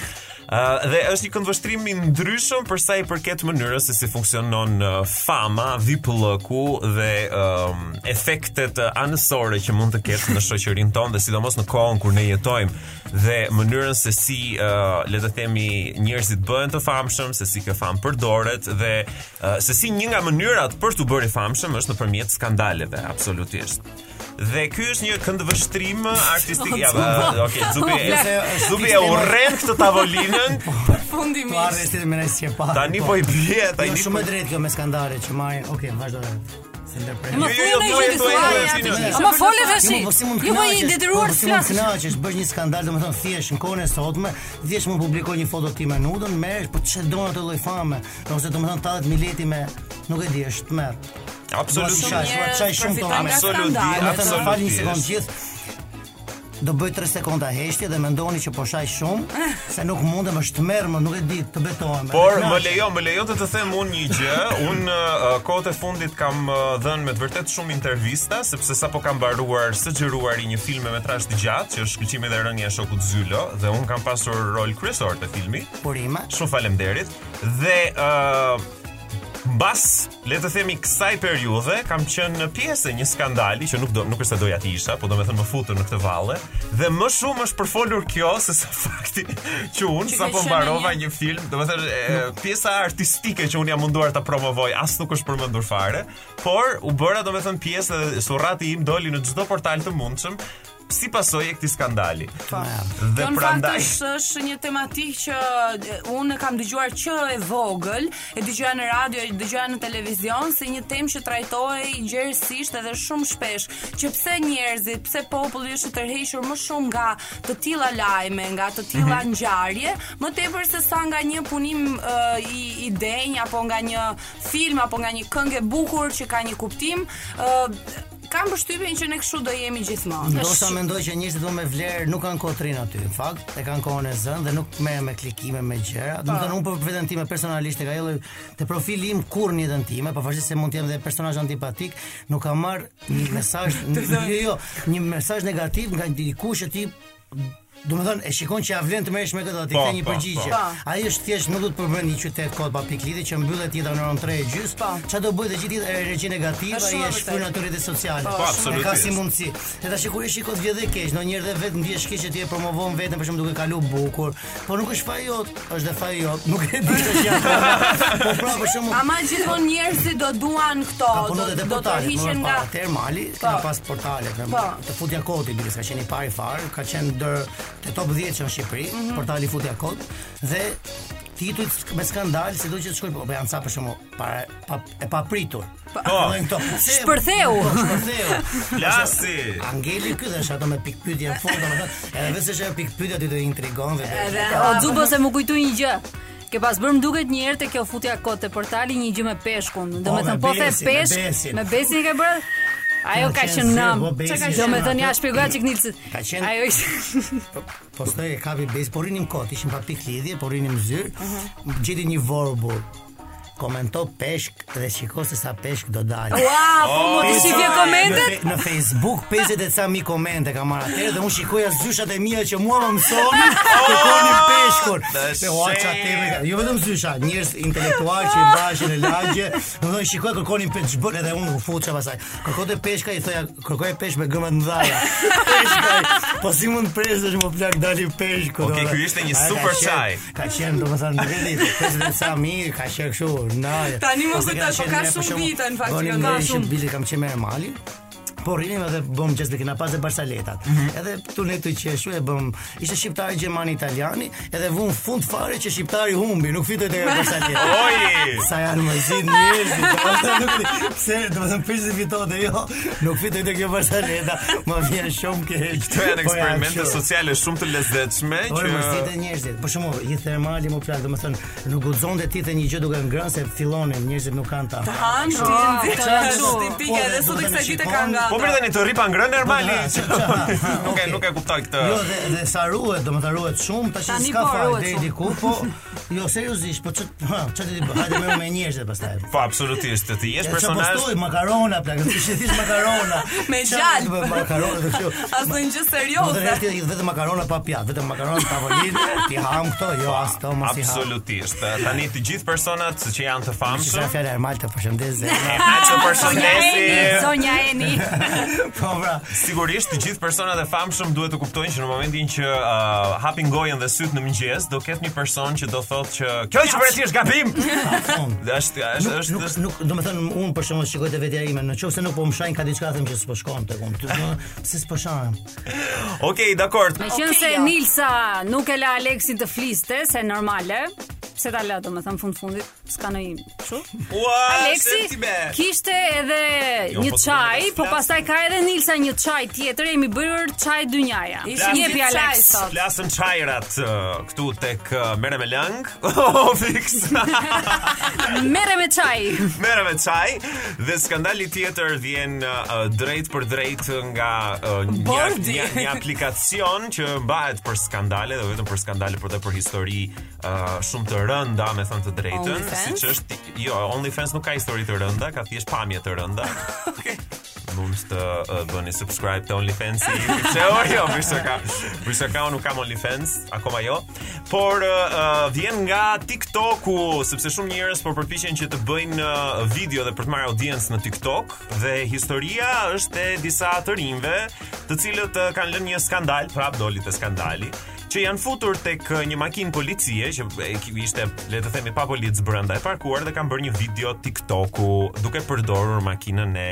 Speaker 5: Uh, dhe është një këndvështrim i ndryshëm për sa i përket mënyrës se si funksionon eh, fama, vipëllëku dhe um, efektet eh, anësore që mund të ketë në shoqërinë tonë dhe sidomos në kohën kur ne jetojmë dhe mënyrën se si uh, le të themi njerëzit bëhen të famshëm, se si kjo famë përdoret dhe uh, se si një nga mënyrat për të bërë i famshëm është nëpërmjet skandaleve, absolutisht. Dhe ky është një këndvështrim artistik. Ja, ba- okay, Zubi, Zubi e urren këtë tavolinën.
Speaker 7: Po ardhe si më nëse pa.
Speaker 5: Tani po i bie,
Speaker 7: Jo,
Speaker 5: tani po
Speaker 7: shumë e drejtë kjo me skandale që marrin. Okej, vazhdo. Se ndërprer.
Speaker 4: Më
Speaker 5: Jo, jo,
Speaker 4: thuaj
Speaker 5: jo,
Speaker 4: ndonjë
Speaker 5: thuaj,
Speaker 4: gjë
Speaker 5: thuaj,
Speaker 4: thuaj,
Speaker 5: thuaj,
Speaker 4: atë
Speaker 5: thuaj,
Speaker 4: gjë.
Speaker 5: thuaj.
Speaker 4: Ama fole tash.
Speaker 7: Jo, po si mund
Speaker 4: Jo, po i
Speaker 7: knaqesh?
Speaker 4: detyruar
Speaker 7: Po,
Speaker 4: të
Speaker 7: si mund
Speaker 4: flasësh.
Speaker 7: knaqesh, bësh një skandal, domethënë thjesht në kohën e sotme, thjesht mund publikoj një foto time nudën, merresh, po ç'e don atë lloj fame, ose domethënë 80 mileti me nuk e di, është merr.
Speaker 5: absolutisht.
Speaker 7: Shaj,
Speaker 6: njerëz
Speaker 7: shaj shumë
Speaker 6: përfitojnë
Speaker 7: të
Speaker 6: nga
Speaker 7: hamë.
Speaker 5: Absolutisht,
Speaker 6: skandale.
Speaker 7: Domethënë më falni një
Speaker 5: absolutisht.
Speaker 7: sekond gjithë. Do bëj 3 sekonda heshtje dhe mendoni që po shaj shumë, se nuk mundem është tmerr, më nuk e di, të betohem.
Speaker 5: Por
Speaker 7: Edhe
Speaker 5: më
Speaker 7: knaqesh.
Speaker 5: lejo, më lejo të të them unë një gjë. Unë uh, kohët e fundit kam uh, dhënë me të vërtet shumë intervista, sepse sapo kam mbaruar së xhiruari një film me metrazh të gjatë, që është shkëlqimi dhe rënja e shokut Zylo, dhe unë kam pasur rol kryesor të filmit.
Speaker 7: Por ima,
Speaker 5: Shumë faleminderit. Dhe ë Mbas, le të themi kësaj periudhe, kam qenë në pjesë e një skandali që nuk do nuk është se doja të isha, po domethënë më futën në këtë valle dhe më shumë është përfolur kjo se sa fakti që unë
Speaker 6: Që ke
Speaker 5: sapo
Speaker 6: qenë
Speaker 5: mbarova
Speaker 6: në
Speaker 5: një film, domethënë e, pjesa artistike që unë jam munduar ta promovoj, as nuk është përmendur fare, por u bëra domethënë pjesë dhe surrati im doli në çdo portal të mundshëm si pasojë e këtij skandali. Dhe
Speaker 6: Kjo në fakt
Speaker 5: prandaj
Speaker 6: është, është një tematik që e, unë e kam dëgjuar që e vogël, e dëgjuar në radio, e dëgjuar në televizion, si një temë që trajtohej gjerësisht edhe shumë shpesh, që pse njerëzit, pse populli është i tërhequr më shumë nga të tilla lajme, nga të tilla
Speaker 5: Mhm.
Speaker 6: ngjarje, më tepër se sa nga një punim e, i, i denjë apo nga një film apo nga një këngë e bukur që ka një kuptim, e, kam përshtypjen që ne kështu do jemi gjithmonë.
Speaker 7: Ndoshta mendoj që njerëzit do me vlerë nuk kanë kotrin aty. Në fakt, e kanë kohën e zënë dhe nuk merren me klikime me gjëra. Do të thënë unë për veten time personalisht tek ajo lloj te profili im kur në jetën time, pavarësisht se mund të jem dhe personazh antipatik, nuk kam marr një mesazh, jo, jo, një mesazh negativ nga dikush që ti Do më thënë, e shikon që ja vlen të merresh me këtë atë,
Speaker 5: Po,
Speaker 7: këtë një
Speaker 5: po,
Speaker 7: përgjigje.
Speaker 6: po.
Speaker 7: Ai është thjesht nuk do të përbën një qytet kod pa piklidhe që mbyllet jeta në orën 3 e gjys.
Speaker 6: Po.
Speaker 7: Çfarë do bëjë të gjithë e regji negative,
Speaker 6: Është
Speaker 7: ai
Speaker 6: shumë
Speaker 7: e
Speaker 6: e
Speaker 7: shfryn
Speaker 6: vërtetë.
Speaker 7: atë rrjetet sociale.
Speaker 5: Po,
Speaker 7: E ka
Speaker 5: absolutisht.
Speaker 7: si mundësi. E tash kur i shikot vjet dhe keq, ndonjëherë dhe vetë ndjesh keq që ti e promovon veten për shkak duke kalu bukur, po nuk është faji jot, është dhe faji jot. Nuk e di se çfarë. Po pra për shkak
Speaker 6: Ama gjithmonë njerëzit do duan këto,
Speaker 7: Ka
Speaker 6: do,
Speaker 7: punot e
Speaker 6: do të
Speaker 7: portalit, më
Speaker 6: rrishen
Speaker 7: nga...
Speaker 6: nga
Speaker 7: Termali,
Speaker 6: Po.
Speaker 7: ka pas portalet,
Speaker 6: Po.
Speaker 7: të Futja Koti, bilis, ka qenë i pari farë, ka qenë dër të top 10 që në Shqipëri,
Speaker 6: Mhm.
Speaker 7: portali Futja Kot, dhe titujt me skandal, se do që të shkojnë, po janë sa për shumë, para, pa, e papritur. Po,
Speaker 4: Shpërtheu.
Speaker 7: Shpërtheu.
Speaker 5: Lasi.
Speaker 7: Angeli ky dhe është ato me pikpyetje në fund, domethënë, edhe vetë se është ajo pikpyetja ti do të intrigon dhe
Speaker 6: Edhe
Speaker 4: O Xubo se më kujtu një gjë. Ke pas bërë më duket një herë te kjo futja kot te portali një gjë me peshkun. Do
Speaker 7: Po,
Speaker 4: me
Speaker 7: me
Speaker 4: thënë po the
Speaker 7: besin, me
Speaker 4: peshk,
Speaker 7: besin.
Speaker 4: me besin e ke bërë? Ajo
Speaker 7: Ka
Speaker 4: ka
Speaker 7: qenë
Speaker 4: qenë
Speaker 7: zi,
Speaker 4: nam.
Speaker 7: po, besi
Speaker 4: Çka
Speaker 7: e
Speaker 4: do
Speaker 7: qenë
Speaker 4: me thënë
Speaker 7: aty.
Speaker 4: ja shpjegoj çik Nilsit.
Speaker 7: Ka qenë-
Speaker 4: Ajo ishte
Speaker 7: Po së e kapi bez, po rinim kot, ishim pa pikë lidhje, po rinim zyrë, gjeti një vorbur, komento peshk dhe shiko se sa peshk do dalë.
Speaker 4: Ua, po më të shifje komentet.
Speaker 7: Në, fe- në Facebook 50 e ca mi komente ka marrë atëherë dhe unë shikoja zyshat e mia që mua më mësonin të konin peshkun.
Speaker 5: Dhe
Speaker 7: Dhe ua ça
Speaker 5: shit.
Speaker 7: teme. ka- Jo vetëm zysha, njerëz intelektual që i bashin e lagje, do të thonë shikoja kërkonin peshk ç'bën edhe unë u futsha pasaj. Kërkote peshka i thoja kërkoje peshk me gëma të mëdha. Peshka. Po si mund presësh më plak dali peshku.
Speaker 5: Okej, ky ishte
Speaker 7: domethënë.
Speaker 5: një
Speaker 7: A, ka
Speaker 5: super
Speaker 7: qenë-
Speaker 5: çaj.
Speaker 7: Ka qenë domethënë në vend të pesë sa mirë, ka qenë kështu. Na.
Speaker 6: Tani mos
Speaker 7: Ose
Speaker 6: e
Speaker 7: ka
Speaker 6: tash, po
Speaker 7: qenë
Speaker 6: ka
Speaker 7: ne, për
Speaker 6: shumë
Speaker 7: shembull, po
Speaker 6: vite, në fakt, që
Speaker 7: bënim
Speaker 6: ka
Speaker 7: ne ishim
Speaker 6: shumë.
Speaker 7: Bili kam qenë me Ermali. Po rinim edhe bëm gjestë kena pas dhe Barsaletat.
Speaker 6: Mhm.
Speaker 7: Edhe këtu ne të qeshu e bëm ishte shqiptari gjermani italiani, edhe vun fund fare që shqiptari humbi, nuk fitoi te Barsaletat.
Speaker 5: Oj!
Speaker 7: Sa janë më zgjidh njerëzit, domethënë nuk di. Pse, domethënë pse si fitote jo, nuk fitoi te kjo Barsaleta, më vjen shumë keq.
Speaker 5: Këto janë
Speaker 7: Po, ja,
Speaker 5: eksperimente
Speaker 7: kështu.
Speaker 5: sociale shumë të lezetshme
Speaker 7: Por
Speaker 5: që
Speaker 7: më e njerëzit. po Për shembull, një thermali më plan, domethënë, nuk guxonte ti të një gjë duke ngrënë se fillonin, njerëzit nuk kanë ta.
Speaker 6: Han,
Speaker 4: Po,
Speaker 6: të
Speaker 7: po,
Speaker 6: tipike
Speaker 7: po,
Speaker 6: edhe
Speaker 7: do
Speaker 6: sot
Speaker 7: të
Speaker 6: e kësaj
Speaker 7: me
Speaker 6: dite
Speaker 7: shikon,
Speaker 6: kanë nga.
Speaker 5: Po për tani të ripa ngrënë normali.
Speaker 7: Po, da, da, da,
Speaker 5: Nuk e
Speaker 7: okay.
Speaker 5: nuk e kuptoj këtë.
Speaker 7: Jo, dhe, dhe sa ruhet, do më të ruhet shumë, tash
Speaker 4: Tani
Speaker 7: s'ka
Speaker 4: po
Speaker 7: fare
Speaker 4: ruhet
Speaker 7: deri
Speaker 4: shumë.
Speaker 7: diku, po jo seriozisht, po ç't, ha, ç't ti bëj? Hajde merr me njerëzit pastaj.
Speaker 5: Po absolutisht, ti je
Speaker 7: Ja, çfarë postoj
Speaker 5: personazh.
Speaker 7: makarona plak, ti je thjesht makarona.
Speaker 6: Me
Speaker 7: Çfarë
Speaker 6: gjalp.
Speaker 7: bë- Makarona dhe kështu.
Speaker 6: As në gjë
Speaker 7: Po të
Speaker 6: serioze.
Speaker 7: rreth i vetëm makarona pa pjatë, vetëm makarona tavolinë, ti ham këto, jo as to mos i ham.
Speaker 5: Absolutisht. Tani të gjithë personat që janë të
Speaker 7: Shqipëria
Speaker 5: famshëm,
Speaker 7: fjala e Ermal të përshëndes dhe
Speaker 5: na të përshëndesim.
Speaker 4: Sonja Eni.
Speaker 7: po pra.
Speaker 5: Sigurisht të gjithë personat e famshëm duhet të kuptojnë që në momentin që uh, hapin gojën dhe syt në mëngjes, do ketë një person që do thotë që kjo që bëre ti është gabim.
Speaker 7: fund.
Speaker 5: Dhe është është
Speaker 7: Nuk,
Speaker 5: është
Speaker 7: nuk,
Speaker 5: është
Speaker 7: nuk, do të thënë unë për shembull shikoj te vetja ime, në qoftë se nuk po më shajnë ka diçka them që s'po shkon tek unë. Ty thua, pse s'po shajnë?
Speaker 5: Okej, dakord.
Speaker 4: Me qenë se Nilsa nuk e la Aleksin të fliste, se normale, se ta la do me thënë fund fundit, s'ka në i
Speaker 5: Ua,
Speaker 6: Ah,
Speaker 4: Aleksi
Speaker 5: sentime.
Speaker 4: kishte edhe
Speaker 5: Jo,
Speaker 4: një
Speaker 5: po të
Speaker 4: çaj,
Speaker 5: duhet të
Speaker 4: po
Speaker 5: flas.
Speaker 4: pastaj ka edhe Nilsa një çaj tjetër, jemi bërë çaj dynjaja.
Speaker 6: Ishin
Speaker 4: Jepi
Speaker 6: gjithë çaj
Speaker 4: Aleks.
Speaker 6: sot.
Speaker 5: Flasën çajrat uh, këtu tek uh, merre me lëng. Oh, fix.
Speaker 4: Merre me çaj.
Speaker 5: merre me çaj dhe skandali tjetër vjen uh, drejt për drejt nga uh, një,
Speaker 6: Bordi.
Speaker 5: një, një aplikacion që mbahet për skandale dhe vetëm për skandale por dhe për histori uh, shumë të rënda, me thënë të drejtën,
Speaker 6: OnlyFans?
Speaker 5: siç është jo, OnlyFans nuk ka histori të rënda, ka thjesht pamje të rënda. mund të uh, bëni subscribe të OnlyFans i Pse o jo, mirëse ka. Mirëse ka, unë nuk kam OnlyFans, akoma jo. Por uh, uh, vjen nga TikToku, sepse shumë njerëz po përpiqen që të bëjnë uh, video dhe për të marrë audiencë në TikTok dhe historia është e disa të rinjve, të cilët uh, kanë lënë një skandal, prap doli te skandali që janë futur tek uh, një makinë policie që eh, e, ki- ishte le të themi pa policë brenda e parkuar dhe kanë bërë një video TikToku duke përdorur makinën e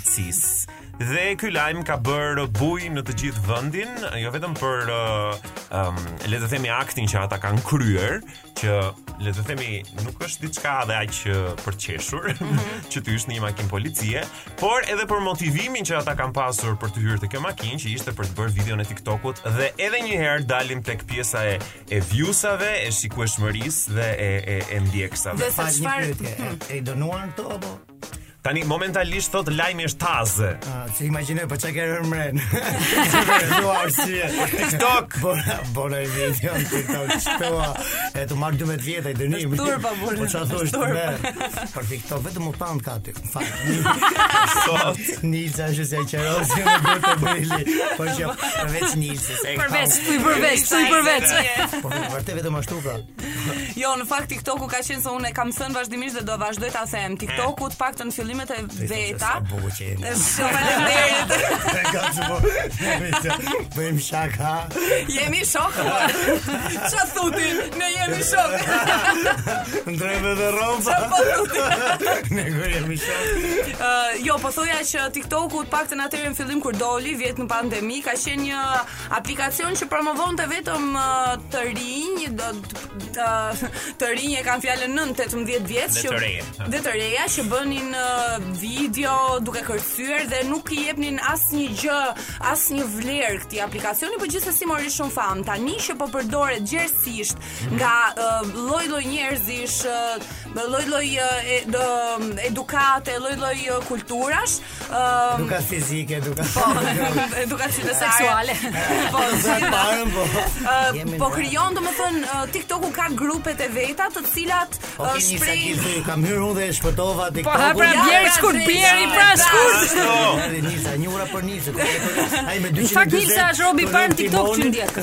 Speaker 5: policisë. Dhe ky lajm ka bërë buj në të gjithë vendin, jo vetëm për uh, um, le të themi aktin që ata kanë kryer, që le të themi nuk është diçka dhe aq uh, për të qeshur që të hysh në një makinë policie, por edhe për motivimin që ata kanë pasur për të hyrë te kjo makinë që ishte për të bërë videon e TikTokut dhe edhe një herë dalim tek pjesa e e viewsave, e shikueshmërisë dhe e e, e ndjekësave.
Speaker 6: Dhe se
Speaker 7: Fal një
Speaker 6: çfarë Hmm.
Speaker 7: pyetje, e- e i donuan këto apo?
Speaker 5: Tani momentalisht thot lajmi është taze.
Speaker 7: Ah, Se imagjinoj po çka ke rënë mren. Si ke rënë arsye.
Speaker 5: TikTok.
Speaker 7: Bona, bona i video në TikTok shtua. E të marr 12 vjet ai dënim.
Speaker 6: Është turpa, burr,
Speaker 7: Po çfarë thosh
Speaker 6: është
Speaker 7: ti?
Speaker 6: turpa.
Speaker 7: me? Për TikTok vetëm u pan ka aty. Fal.
Speaker 5: Sot
Speaker 7: Nilsa është se qerosi me botë brili. Po që përveç Nilsës. e
Speaker 4: Përveç,
Speaker 7: kam.
Speaker 4: tu i përveç, tu i përveç.
Speaker 7: Po vërtet vetëm ashtu pra.
Speaker 6: Jo, në fakt TikToku ka qenë se unë e kam thënë vazhdimisht dhe do vazhdoj ta them. TikToku të paktën në fillimet e veta.
Speaker 7: Sa bukur që jeni.
Speaker 6: Shumë faleminderit.
Speaker 7: E kam që po. jemi të- Bëjmë shaka.
Speaker 6: Jemi shok. po. Çfarë thuti? Ne jemi shok.
Speaker 7: Ndrejmë edhe rroba.
Speaker 6: Po thuti.
Speaker 7: Ne kur jemi shaka.
Speaker 6: Ë, jo, po thoja që TikToku të paktën atëherë në fillim kur doli, vjet në pandemi, ka qenë një aplikacion që promovonte vetëm ë, të rinj, do të- të, të rinj e kanë fjalën 9-18 vjeç
Speaker 5: Dhe
Speaker 6: që
Speaker 5: të reja.
Speaker 6: dhe të reja që bënin ë, video duke kërcyer dhe nuk i jepnin asnjë gjë, asnjë vlerë këtij aplikacioni, por gjithsesi mori shumë fam. Tani që po përdoret gjerësisht nga ë, lloj-lloj njerëzish, ë, lloj-lloj ë, e- do- edukate, lloj-lloj ë, kulturash, ë,
Speaker 7: Edukat fizike, edukat
Speaker 6: Po, edukacion seksuale.
Speaker 4: Seksuale.
Speaker 6: Po,
Speaker 7: Sa të parën, po.
Speaker 6: Ë,
Speaker 7: Jemi
Speaker 6: po
Speaker 7: në-
Speaker 6: krijon domethënë ë, TikToku ka grupet e veta të cilat
Speaker 7: Po
Speaker 6: ë,
Speaker 7: keni sa
Speaker 6: shprejnë
Speaker 7: gjithë, kam hyrë unë dhe e shpëtova
Speaker 4: Po ha pra
Speaker 7: TikTokun.
Speaker 6: Ja,
Speaker 4: bjerë
Speaker 6: pra,
Speaker 4: shkurbieri,
Speaker 6: drejt,
Speaker 4: pra
Speaker 6: drejt.
Speaker 4: shkurt.
Speaker 7: Nisa, Nisa, një ura për Nisa. Ai me 200.
Speaker 4: Në fakt Nilsa është robi i parë në TikTok që ndjek.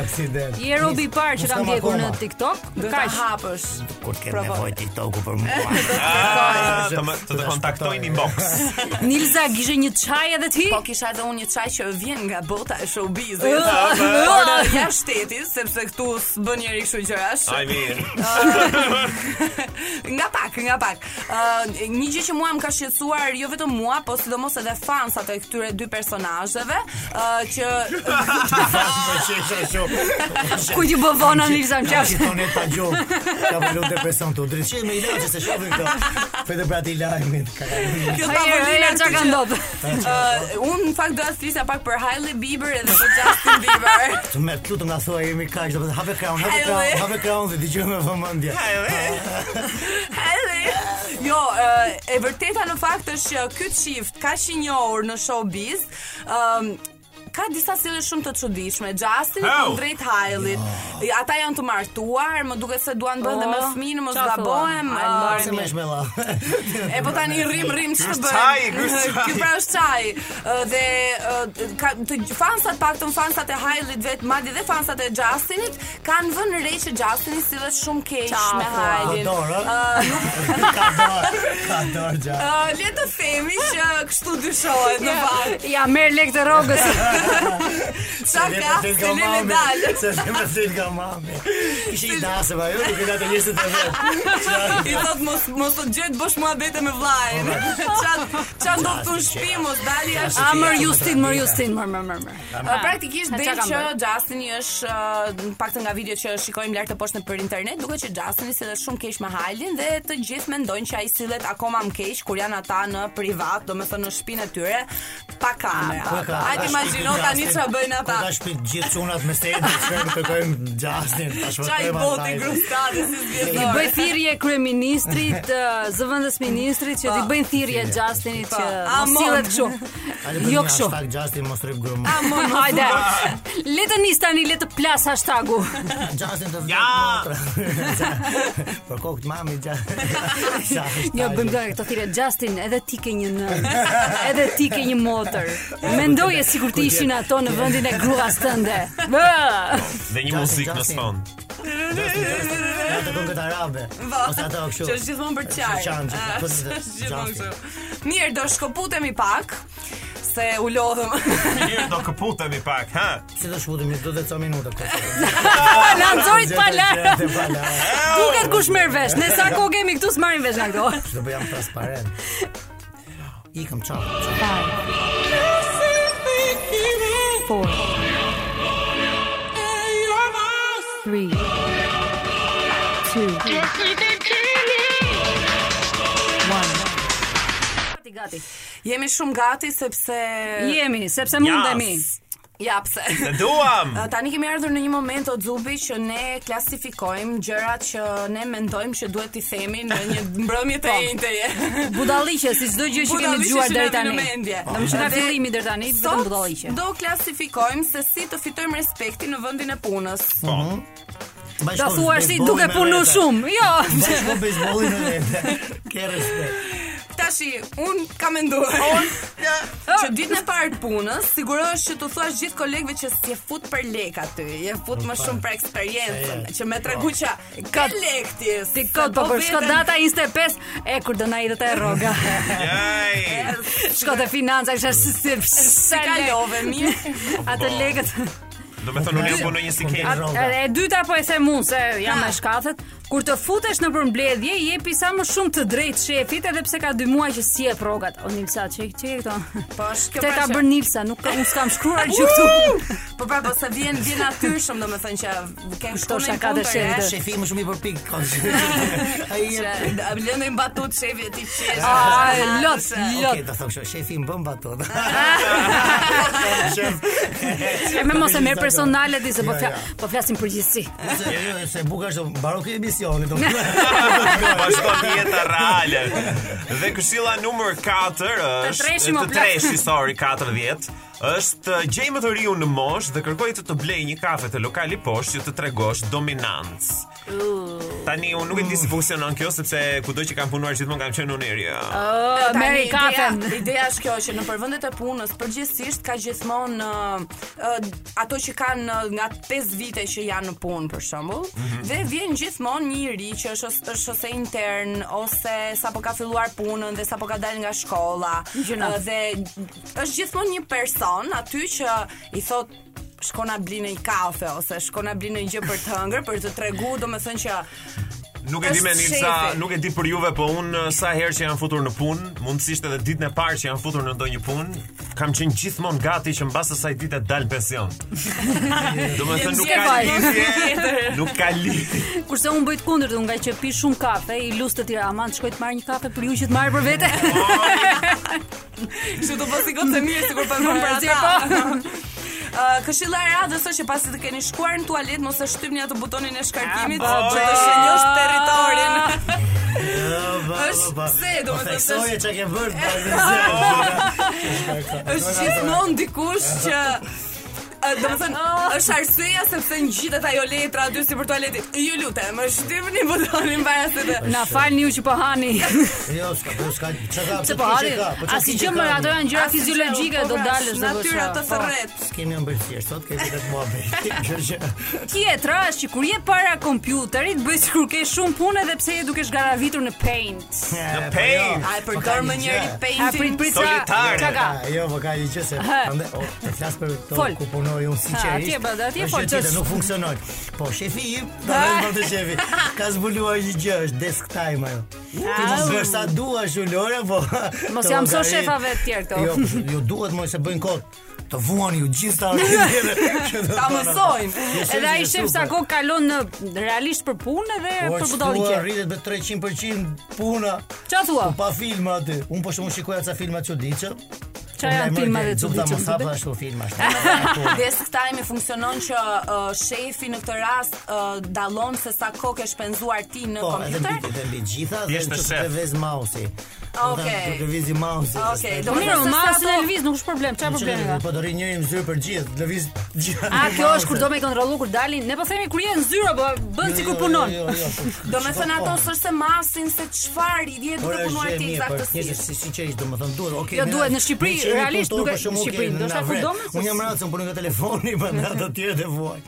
Speaker 7: Aksident.
Speaker 4: Je robi i parë që ka ndjekur në TikTok.
Speaker 6: do ta
Speaker 4: Kaq.
Speaker 6: hapësh.
Speaker 7: Kur të kem
Speaker 6: Provo.
Speaker 7: nevojë TikToku për mua.
Speaker 5: Ah, të më- të të kontaktojnë inbox.
Speaker 4: Nilsa kishe një çaj edhe ti?
Speaker 6: Po kisha edhe unë një çaj që vjen nga bota e showbizit.
Speaker 4: Ah,
Speaker 6: Por
Speaker 4: ah.
Speaker 6: ë, jashtë shtetit, sepse këtu s'bën njëri kështu gjërash.
Speaker 5: I mean,
Speaker 6: nga pak, nga pak. Ë një gjë që mua më ka shqetësuar jo vetëm mua, po sidomos edhe fansat e këtyre dy personazheve, ë që
Speaker 4: Ah!
Speaker 7: Po qesha shumë.
Speaker 4: Ku ti bë
Speaker 6: Po,
Speaker 4: vona Nilsa më
Speaker 7: Që
Speaker 4: qash?
Speaker 7: tonë pa gjumë. Ka vëllu depresion të udrit. Që me ilaçe se shohin këto. Për brati i lajmit. Ka kalojnë.
Speaker 6: kjo
Speaker 4: Ai
Speaker 6: tavolina
Speaker 4: era çka ka ndodhur.
Speaker 6: Ë unë në fakt doja të flisja pak për Hailey Bieber edhe për Justin Bieber.
Speaker 7: Të më të lutem nga thua jemi kaq, do të thotë hape kraun, hape kraun,
Speaker 6: Edhe.
Speaker 7: hape kraun dhe dëgjoj me vëmendje.
Speaker 6: Hailey. Jo, ë, e vërteta në fakt është që ky çift ka i njohur në showbiz. Ëm ka disa sjellje shumë të çuditshme. Justin i
Speaker 5: How? Jo.
Speaker 6: thon drejt Hailey-t. Ata janë të martuar, më duket se duan bëhen dhe me
Speaker 4: Oh,
Speaker 6: fëmin, mos
Speaker 4: qa
Speaker 6: gabohem.
Speaker 4: thua?
Speaker 6: ë,
Speaker 7: Ah, Se më shmella.
Speaker 6: E po tani rrim rrim ç'të
Speaker 5: Ky është
Speaker 6: bëj.
Speaker 5: çaj, ky është çaj.
Speaker 6: Ky pra është çaj. Ë, Dhe ë, ka të fansat paktën fansat e Hailey-t vet, madje dhe fansat e Justinit kanë vënë re që Justini sillet shumë keq
Speaker 4: Qa
Speaker 6: me
Speaker 4: thua?
Speaker 6: Hailey.
Speaker 7: Dorë, ë?
Speaker 6: Ah,
Speaker 7: Ka dorë, ka dorë gjatë.
Speaker 6: Uh, le të themi që kështu dyshohet në fakt.
Speaker 4: Ja merr lek të rrogës.
Speaker 6: Qa ka,
Speaker 7: Se
Speaker 6: se le me dalë.
Speaker 7: Se le me dal nga mami. Kishë i dasë, va jo, nuk e datë njështë të vetë.
Speaker 6: I thot mos mos të gjej të bësh muhabete me vllajën. Ça ça ndodh të në Po, shtëpi mos dali jashtë.
Speaker 4: A mër Justin, mër Justin, mër mër mër. mër.
Speaker 6: Uh, praktikisht
Speaker 4: Ha,
Speaker 6: dhe
Speaker 4: qa kam
Speaker 6: që
Speaker 4: Ah, bërë?
Speaker 6: Justini është uh, në paktën nga video që shikojmë lart të poshtën për internet, duket që Justini sillet shumë keq me Hailin dhe të gjithë mendojnë që ai sillet akoma më keq kur janë ata në privat, domethënë në shtëpinë e tyre pa kamera. Hajde imagjino tani ç'a bëjnë ata.
Speaker 7: Ka shpit gjithë çunat me sejtë, që kërkojmë Gjastin, tash
Speaker 6: Qa i boti grustati si
Speaker 4: I
Speaker 6: zgjedhore.
Speaker 4: bëj thirrje kryeministrit, ë, zëvendës ministrit që t'i bëjnë thirrje Justinit që
Speaker 6: A,
Speaker 4: mos
Speaker 6: mon.
Speaker 4: sillet kështu. Jo kështu.
Speaker 7: Hashtag Justin mos rrip grumë.
Speaker 4: Hajde.
Speaker 6: po.
Speaker 4: Le të nis tani, le të plas hashtagu.
Speaker 7: Justin të
Speaker 5: Ja!
Speaker 7: motra. Për kokët mami Justin.
Speaker 4: Jo bëjmë dorë këto thirrje Justin, edhe ti ke një nën. Edhe ti ke një motër. Mendoje sikur ti ishin ato në vendin e gruas tënde. Bë!
Speaker 5: Dhe një
Speaker 7: Justin,
Speaker 5: muzikë në
Speaker 7: Justin.
Speaker 5: sfond.
Speaker 7: Ja të këngët arabe. Ose ato kështu.
Speaker 6: Që është gjithmonë për çaj.
Speaker 7: Qan, që-
Speaker 6: Ah,
Speaker 7: po,
Speaker 6: është gjithmonë
Speaker 7: Justin.
Speaker 6: kështu. Mirë, do shkoputemi pak se u lodhëm.
Speaker 5: Mirë, do këputemi pak, ha?
Speaker 7: Si do shkutemi një 40 minuta këtu.
Speaker 4: Lanzorit pa larë.
Speaker 7: Gjete pa larë.
Speaker 4: Duket kush merr vesh. Ne sa kohë kemi këtu s'marrim vesh nga këto.
Speaker 7: Që do bëjam transparent. Ikëm çao.
Speaker 3: Four. Three. Two. One.
Speaker 4: Gati gati.
Speaker 6: Jemi shumë gati sepse
Speaker 4: Jemi, sepse mundemi.
Speaker 5: Jas.
Speaker 6: ja pse.
Speaker 5: Të duam!
Speaker 7: Mhm.
Speaker 6: Uh, Tani kemi ardhur në një moment o Zubi që ne klasifikojmë gjërat që ne mendojmë që duhet t'i themi në një mbrëmje të enjteje.
Speaker 4: Budalliqe si çdo gjë që kemi dëgjuar deri tani. Po.
Speaker 6: Do
Speaker 4: Domethënë nga fillimi deri tani vetëm budalliqe.
Speaker 6: Do klasifikojmë se si të fitojmë respektin në vendin e punës.
Speaker 5: Po.
Speaker 7: Mhm.
Speaker 4: Do thua si duke punu shumë. Jo.
Speaker 7: Bashko bejsbollin e vete. Ke respekt.
Speaker 6: Tashi, un kam menduar. Un që ditën e parë të punës, sigurohesh që të thuash gjithë kolegëve që s'je fut për lek aty, je fut më shumë për Po. eksperiencën,
Speaker 7: E, e.
Speaker 6: që më tregu që ka lek ti.
Speaker 4: Ti kot po për shko data 25 e kur do na i të e rroga.
Speaker 5: Jaj!
Speaker 4: Shko te financa kështu si si
Speaker 6: Si kalove mirë.
Speaker 4: Atë lekët.
Speaker 5: Do me thënë, unë jam punoj një sikin.
Speaker 7: Rroga.
Speaker 4: Edhe e dyta po e them unë se jam me shkathet. Kur të futesh në përmbledhje, i jepi sa më shumë të drejtë shefit edhe pse ka dy muaj që si e rrogat. O Nilsa, çe çe këto.
Speaker 6: Po është kjo
Speaker 4: Te ka
Speaker 6: prashë.
Speaker 4: bën Nilsa, nuk ka- unë s'kam shkruar gjë këtu.
Speaker 6: Po pra, po se vjen vjen natyrshëm, domethënë që ke
Speaker 4: Kështu
Speaker 6: shkollën
Speaker 4: shaka dhe shefit.
Speaker 7: Shefi më shumë i përpik ka. Ai e
Speaker 6: Lëndë i mbatut shefi e ti qesh.
Speaker 4: Ah, lot, lot.
Speaker 7: Okej, do thon kështu, shefi më bën batot.
Speaker 4: E me mos e merr personale di se po
Speaker 7: Jo,
Speaker 4: fla,
Speaker 7: jo.
Speaker 4: po flasim përgjithësi.
Speaker 7: Se- jo, Se buka është baro kjo emisioni, do.
Speaker 5: Vazhdon jeta reale. Dhe këshilla numër 4 është
Speaker 4: treshi, mo,
Speaker 5: të
Speaker 4: plak.
Speaker 5: treshi, sorry, 40 është uh, gjej më të riu në mosh dhe kërkoj të të blej një kafe te lokali poshtë që të tregosh dominancë. Tani unë nuk e di si funksionon kjo sepse kudo që kam punuar gjithmonë kam qenë unë i ri.
Speaker 4: Ë,
Speaker 6: Tani,
Speaker 4: merri
Speaker 6: ideja-
Speaker 4: kafen.
Speaker 6: Ideja është kjo që në përvendet e punës përgjithsisht ka gjithmonë ë, ë, ato që kanë ë, nga 5 vite që janë në punë për shembull, dhe vjen gjithmonë një i ri që është ose- është ose intern ose sapo ka filluar punën dhe sapo ka dalë nga shkolla.
Speaker 4: Gjëna.
Speaker 6: ë, Dhe është gjithmonë një person aty që i thot shkona blinë një kafe ose shkona blinë një gjë për të hëngër për të tregu domethënë që
Speaker 5: Nuk e di me
Speaker 6: Është
Speaker 5: Nilsa,
Speaker 6: shefi.
Speaker 5: nuk e di për juve, po unë sa herë që jam futur në punë, mundësisht edhe ditën e parë që jam futur në ndonjë punë, kam qenë gjithmonë gati që mbas asaj dite të dal pension. Domethënë nuk
Speaker 4: Jam
Speaker 5: ka
Speaker 4: si e
Speaker 5: lidhje, nuk ka lidhje.
Speaker 4: Kurse unë bëj të kundërt, unë nga që pi shumë kafe, i lus të tira, aman shkoj të marr një kafe për ju që të marr për vete.
Speaker 6: Kështu do po sikon se mirë sikur po ndon për
Speaker 4: Përzi,
Speaker 6: ata. Ë, Këshilla e radhës është që pasi të keni shkuar në tualet mos e shtypni atë butonin e shkarkimit
Speaker 4: Ah,
Speaker 5: A, po,
Speaker 6: që të
Speaker 5: po.
Speaker 6: shenjosh territorin. Është pse, do
Speaker 7: domethënë.
Speaker 6: me thënë,
Speaker 7: Po Theksoj
Speaker 6: është-
Speaker 7: çka ke vënë.
Speaker 6: Është gjithmonë dikush që ë, Do më thënë,
Speaker 4: Ah.
Speaker 6: është arsyeja sepse në gjithet ajo letra aty si për tualetit Ju lutem, është shtypni butonin para se të
Speaker 4: Na falni ju që po hani.
Speaker 7: Jo, s'ka, po s'ka. Çka?
Speaker 4: Se po hani. Asgjë më ato janë gjëra
Speaker 6: Asgjë,
Speaker 4: fiziologjike
Speaker 6: po,
Speaker 4: do
Speaker 6: pra,
Speaker 4: dalësh do
Speaker 6: Natyra
Speaker 4: bësh,
Speaker 6: të
Speaker 4: po.
Speaker 6: thërret
Speaker 7: Kemi ëmbëlsirë, sot kemi vetë muhabet. Kjo që
Speaker 4: Tjetra është që kur je para kompjuterit, bëj sikur ke shumë punë edhe pse je duke zgaravitur në Paint.
Speaker 7: Në
Speaker 5: pain.
Speaker 6: A e
Speaker 7: Po
Speaker 6: përdor më njëri
Speaker 4: A prit
Speaker 6: painting
Speaker 4: prit sa
Speaker 5: Solitare.
Speaker 4: çka ka?
Speaker 7: Jo, po ka një gjë se
Speaker 4: Ha.
Speaker 7: prandaj o, të flas për to
Speaker 4: Fol.
Speaker 7: ku punoj unë sinqerisht.
Speaker 4: atje, po, atje
Speaker 7: është
Speaker 4: fol,
Speaker 7: gjë tjetër,
Speaker 4: qësh-
Speaker 7: nuk funksionon. Po shefi im, prandaj po të shefi. Ka zbuluar një gjë, është desk time ajo. Ti mos bësh sa duash ulore, po.
Speaker 4: Mos
Speaker 7: të
Speaker 4: jam mëso
Speaker 7: llogari-
Speaker 4: shefave të tjerë këto.
Speaker 7: Jo, jo duhet mos e bëjnë kot. Të vuani ju gjithë ta orientere.
Speaker 6: Ta mësojnë
Speaker 4: Edhe ai shef sa kohë kalon në realisht për punë dhe për
Speaker 7: Po që thua,
Speaker 4: budalliqe.
Speaker 7: rritet me 300% puna
Speaker 4: Çfarë thua?
Speaker 7: Po pa filma aty. Un po shumë shikoja ca filma çuditshëm.
Speaker 4: Çfarë janë filmat e
Speaker 7: Zupta
Speaker 4: çuditshme?
Speaker 7: mos hapa ashtu filma. ashtu.
Speaker 6: Desk time funksionon që uh, shefi në këtë rast uh, dallon se sa kohë ke shpenzuar ti në
Speaker 7: Po, edhe mbi
Speaker 6: kompjuter.
Speaker 7: edhe mbi gjitha dhe
Speaker 5: Thjesht
Speaker 7: në
Speaker 5: të
Speaker 7: çështë
Speaker 5: shef.
Speaker 7: të vez mausi.
Speaker 6: Okej.
Speaker 7: Të lëvizi mausi.
Speaker 6: Okej,
Speaker 4: Po
Speaker 6: do
Speaker 4: mirë,
Speaker 6: të
Speaker 4: ma se
Speaker 6: thotë
Speaker 4: Elvis nuk është problem, çfarë problemi ka?
Speaker 7: Po do ri njëri në zyrë për gjithë, lëviz gjithë.
Speaker 4: A kjo është kur do me kontrollu kur dalin, ne po themi kur je në zyrë, po
Speaker 7: Jo,
Speaker 4: bën sikur punon.
Speaker 7: po.
Speaker 6: Do me thënë ato sërse se masin se çfarë i dje duke punuar ti
Speaker 7: Njerëz
Speaker 6: eksaktësisht.
Speaker 7: po, si sinqerisht domethënë duhet. Okej.
Speaker 4: Jo,
Speaker 7: ne-
Speaker 4: duhet, në Shqipëri,
Speaker 7: ne qemi
Speaker 4: realisht,
Speaker 7: kulturë,
Speaker 4: nuk e-
Speaker 7: për
Speaker 4: në
Speaker 7: shembull,
Speaker 4: Shqipëri,
Speaker 7: po, okej,
Speaker 4: ndoshta
Speaker 7: na
Speaker 4: ku
Speaker 7: vret.
Speaker 4: do me-
Speaker 7: Unë jam racë, unë punoj nga telefoni, po nga të tjerë të vuaj.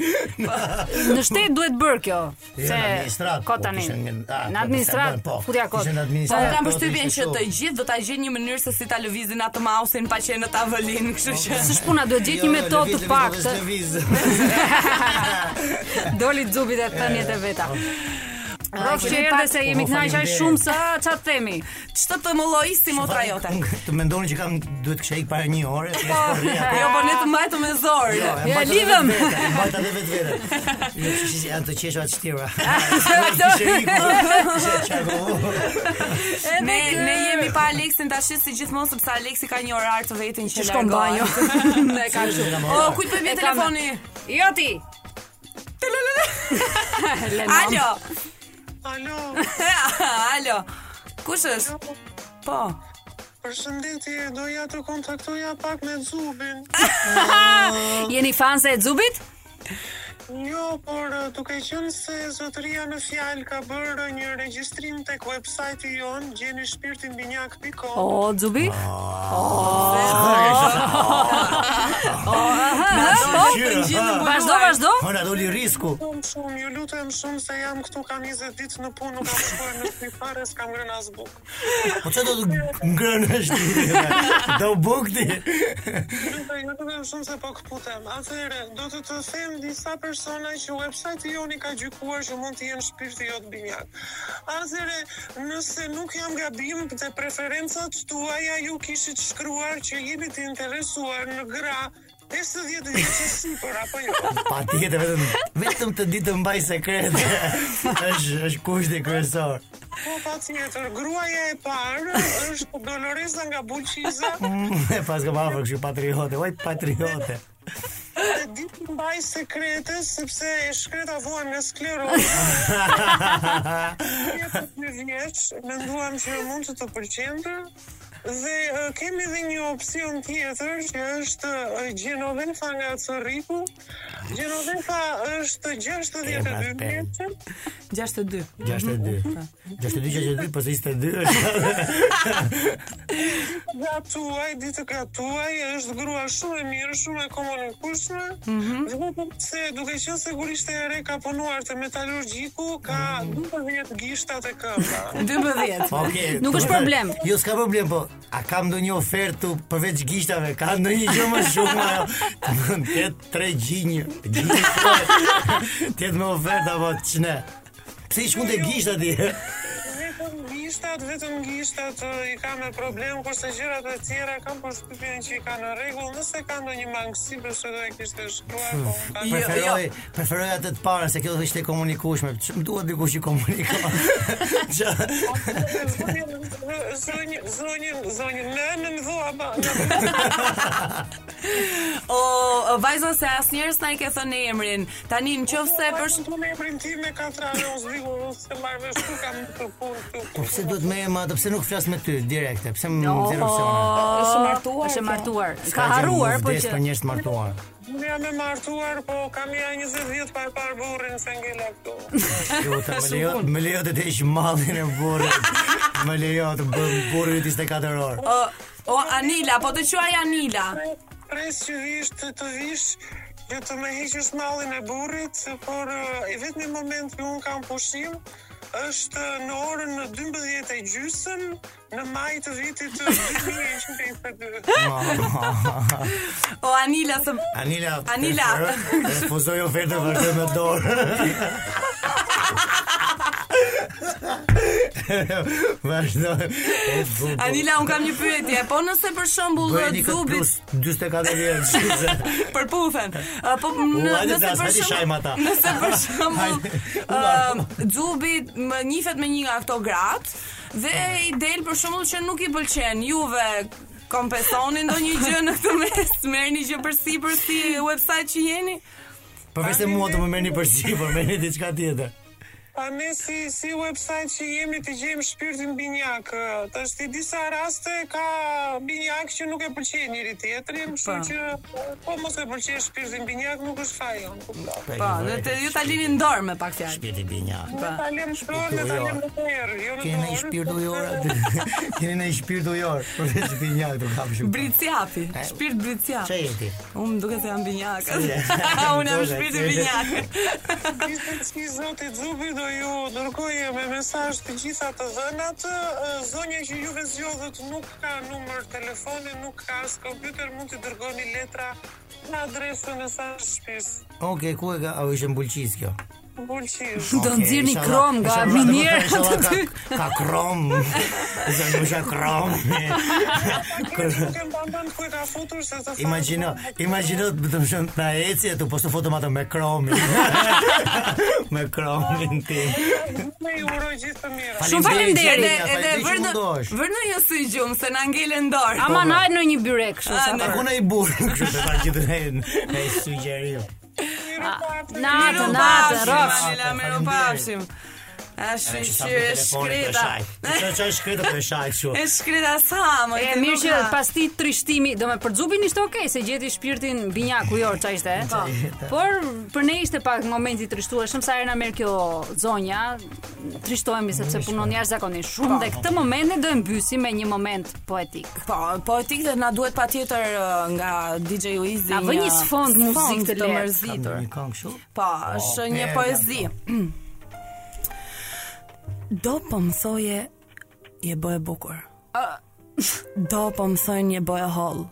Speaker 4: Në shtet duhet bër kjo.
Speaker 7: Jo,
Speaker 4: Se
Speaker 7: në administrat,
Speaker 4: kot
Speaker 7: po,
Speaker 4: tani.
Speaker 7: kishin një- a,
Speaker 4: Në
Speaker 7: po,
Speaker 4: administrat,
Speaker 7: kishin bën, po.
Speaker 4: futja kot.
Speaker 7: Kishin në
Speaker 6: Po
Speaker 7: administrat.
Speaker 6: unë kam
Speaker 7: Po,
Speaker 6: përshtypjen
Speaker 7: ishte
Speaker 6: që
Speaker 7: kështu.
Speaker 6: të gjithë do ta gjejnë një mënyrë se si ta lëvizin atë mausin pa qenë në tavolinë, kështu që
Speaker 4: Së shpuna duhet
Speaker 7: Jo,
Speaker 4: gjithë një metodë të
Speaker 7: lëviz, lëviz,
Speaker 4: paktë.
Speaker 7: lëviz,
Speaker 4: Doli xubit e thënjet e veta. Rof që erdhe se jemi
Speaker 7: po,
Speaker 4: kënaqur
Speaker 7: faleminderit.
Speaker 4: shumë sa ç'a themi.
Speaker 6: ç'të të molloi si
Speaker 4: Pra,
Speaker 6: motra
Speaker 4: jo,
Speaker 6: jote.
Speaker 7: lëviz. Të mendoni që kam duhet kisha ik para një ore. Po.
Speaker 6: Jo, po ne të mbajtu me zor.
Speaker 4: Ja, lidhem.
Speaker 7: Mbajta dhe vetë vetë. Jo, që që janë të qeshura të shtira.
Speaker 6: Ato-
Speaker 7: Kishe ikur. Kishe qarkullu.
Speaker 6: Ne ne jemi pa Aleksin tash si gjithmonë sepse Aleksi ka një orar të vetin që
Speaker 4: Shkon
Speaker 6: largohet.
Speaker 4: banjo. Ne ka kështu.
Speaker 6: O, kujt po i bie
Speaker 4: E kam-
Speaker 6: telefoni?
Speaker 4: Jo ti. Le mam.
Speaker 6: Alo. Alo. Alo. Kush është? Po.
Speaker 10: Përshëndetje, doja të kontaktoja pak me Zubin.
Speaker 4: Jeni fan se e xubit?
Speaker 10: Jo, por eh, duke qënë se zotëria në fjalë ka bërë një regjistrim tek websajti jon, gjeni shpirtin binjak.com.
Speaker 4: O xubi? Vazhdo, vazhdo.
Speaker 7: Ona doli risku.
Speaker 10: Shumë shumë, ju lutem shumë se jam këtu kam 20 ditë në punë, nuk kam shkuar në shpi fare, s'kam ngrënë as bukë.
Speaker 7: Po çfarë do të ngrënësh ti? Do bukti.
Speaker 10: Lutem, ju lutem shumë se po këputem. Atëherë, do të të them disa persona që websajti jon i ka gjykuar që mund të jenë shpirti jot binjak. Atëherë, nëse nuk jam gabim dhe preferencat tuaja ju kishit shkruar që jeni të interesuar në gra 50 vjeçë sipër apo jo.
Speaker 7: Patjetër vetëm vetëm të ditë mbaj sekrete. Është është kushti kryesor.
Speaker 10: Po pa tjetër, gruaja e parë është Doloresa nga Bulqiza
Speaker 7: E pas ka marrë kështu patriote, oj patriote.
Speaker 10: dhe ditë mbaj sekrete sepse e shkreta vuan nga sklerozë. Jetët një vjeç, menduam që mund të të pëlqente dhe e, kemi edhe një opsion tjetër që është e, Gjenovefa nga Cërriku. Gjenovefa është 62
Speaker 7: Kema
Speaker 10: vjeçë.
Speaker 6: 62.
Speaker 7: 62. 62, 62, pas 22 është.
Speaker 10: Gatuaj, ditë gatuaj, është grua shumë e mirë, shumë e komunikueshme. Mm -hmm. Se duke qenë sigurisht e re ka punuar te metalurgjiku, ka 12 gishta te këmbë.
Speaker 6: 12.
Speaker 7: Okej.
Speaker 4: Nuk është
Speaker 7: po,
Speaker 4: problem.
Speaker 7: Jo, s'ka problem, po a kam ndonjë ofertë tu përveç gishtave? Ka ndonjë gjë më shumë ajo? Tet tre gjinjë. Gjinjë. Tet me ofertë apo ç'ne? Pse i shkon te gishta ti?
Speaker 10: Vetëm gishtat, vetëm gishtat eh, i ka me problem, kurse gjërat e tjera kam përshtypjen që i ka në rregull. Nëse ka ndonjë mangësi, besoj do e kishte shkruar, po ka
Speaker 6: Jo,
Speaker 7: Preferoj, preferoj atë të parën se kjo do ishte e komunikueshme. Ç'm duhet dikush që komunikon. Ç'a?
Speaker 10: zonjë, zonjë, zonjë, në në më dhua, ba, në
Speaker 6: O, vajza se asnjëherë s'na i ke thënë emrin. Tani nëse Jo, për
Speaker 10: Është punë e printim me katrave, unë zdigu, unë se marrë vesh ku kam të punë këtu.
Speaker 7: Po pse duhet me ema, atë pse nuk flas me ty direkte? Pse më
Speaker 4: O,
Speaker 7: zero opsione?
Speaker 6: është martuar.
Speaker 4: Është e martuar.
Speaker 7: S'ka
Speaker 4: Ka
Speaker 7: gjë,
Speaker 4: harruar,
Speaker 7: nuk
Speaker 4: po
Speaker 7: vdes
Speaker 4: që
Speaker 7: për njerëz të martuar.
Speaker 10: Unë jam e martuar, po kam ja 20 vjetë pa e parë burrin se ngella këtu.
Speaker 7: Jo, ta më lejo, më lejo të të ishë mallin e burrit. Më lejo të bëm burrit 24 orë.
Speaker 6: O, o Anila, po të quaj Anila.
Speaker 10: Pres që vish të të vish, që të me hiqësh mallin e burrit, por eh, i vetmi moment që unë kam pushim, është në orën në 12 e gjysëm në maj të vitit 2122.
Speaker 6: O Anila se
Speaker 7: Anila.
Speaker 6: Anila.
Speaker 7: Refuzoi ofertën vazhdoi me dorë. Vazhdoi. O, bu, bu.
Speaker 6: Anila, un kam një pyetje. Po nëse për shembull
Speaker 7: Bëjeni këtë plus
Speaker 6: Zubit
Speaker 7: 44 vjetë
Speaker 6: për pufen. ë, Po
Speaker 7: U,
Speaker 6: në-
Speaker 7: hajde,
Speaker 6: nëse
Speaker 7: zas,
Speaker 6: për
Speaker 7: hajde, shajmë ata.
Speaker 6: shembull nëse për shembull
Speaker 7: Hajde.
Speaker 6: ë, Zubi më nifet me një nga ato gratë dhe i del për shembull që nuk i pëlqen juve kompensoni ndonjë gjë në këtë mes, merrni gjë përsipër si website që jeni.
Speaker 7: Përveç Po, se mua do më merrni përsipër, merrni diçka tjetër.
Speaker 10: A ne si, si website që jemi të gjejmë shpirtin binjak. ë, Të është i disa raste ka binjak që nuk e pëlqen njëri tjetrin, kështu që po mos e pëlqen shpirtin binjak nuk është fajon, kupton.
Speaker 6: Po, në të ju ta lini ndorë me pak fjalë.
Speaker 7: Shpirti binja.
Speaker 10: Ne ta lëm dorë, ne ta lëm në herë, jo në dorë.
Speaker 7: Keni në shpirt ujor aty. Keni në shpirt ujor, Po, përveç binja do kam shumë.
Speaker 6: Bricjapi, shpirt bricjap.
Speaker 7: Çe jeti?
Speaker 6: Unë më duket se jam binjak. Unë jam
Speaker 7: Ndorë,
Speaker 6: shpirti
Speaker 7: çe-
Speaker 6: binjak.
Speaker 10: Si zoti Zubi do ju dërgoje me mesazh të gjitha të dhënat, ë, zonja që juve zgjodhët nuk ka numër telefoni, nuk ka as kompjuter, mund të dërgoni letra në adresën e sa shtëpisë.
Speaker 7: Okej, ku e ka? Au ishte në Bulqiz kjo.
Speaker 10: Bulqish.
Speaker 4: Do
Speaker 7: Okej,
Speaker 4: nxirrni
Speaker 7: inshallah-
Speaker 4: krom nga
Speaker 7: inshallah,
Speaker 4: minierët
Speaker 7: inshallah
Speaker 4: aty.
Speaker 7: ka- Ka krom. Zanusha krom.
Speaker 10: Nuk e mban mend ku e ka futur se të
Speaker 7: Imagjino, imagjino të më shumë na eci aty, po të fotom atë me kromin. me kromin tim.
Speaker 10: Ne ju uroj gjithë të mirë.
Speaker 6: Shumë faleminderit.
Speaker 7: Edhe
Speaker 6: Edhe edhe vër në vër në një sy gjumë se na ngelen dorë.
Speaker 4: Ama na në një byre kështu
Speaker 6: A,
Speaker 4: sa.
Speaker 6: në-
Speaker 7: Ku na i burr, kështu se ta gjithë ne ne sugjerim.
Speaker 4: Natë,
Speaker 6: Miru
Speaker 4: natë,
Speaker 6: pafshim,
Speaker 4: rrofsh.
Speaker 6: Anila, miru pafshim. Ashtë shqyrë, shkreta.
Speaker 7: Çfarë çfarë shkreta për shaj kështu.
Speaker 6: E shkreta sa, më
Speaker 4: E
Speaker 6: ti
Speaker 4: mirë
Speaker 6: nuk
Speaker 4: që
Speaker 6: ka.
Speaker 4: pas ti trishtimi, do me për Xubin ishte okay se gjeti shpirtin binjak ujor ç'a ishte. Po. Por për ne ishte pak momenti i trishtueshëm sa herë na merr kjo zonja, trishtohemi sepse punon jashtëzakonisht shumë dhe këtë momentin do e mbysim me një moment poetik.
Speaker 6: Po, po ti dhe na duhet patjetër ë, nga DJ Uizi. uh,
Speaker 4: Na vë një sfond muzikë të lehtë.
Speaker 6: mërzitur.
Speaker 7: Një këngë kështu.
Speaker 6: Po, është një po.
Speaker 7: merda,
Speaker 6: poezi. Do po më thoje je bë e bukur. Do po më thënë je bë e holl.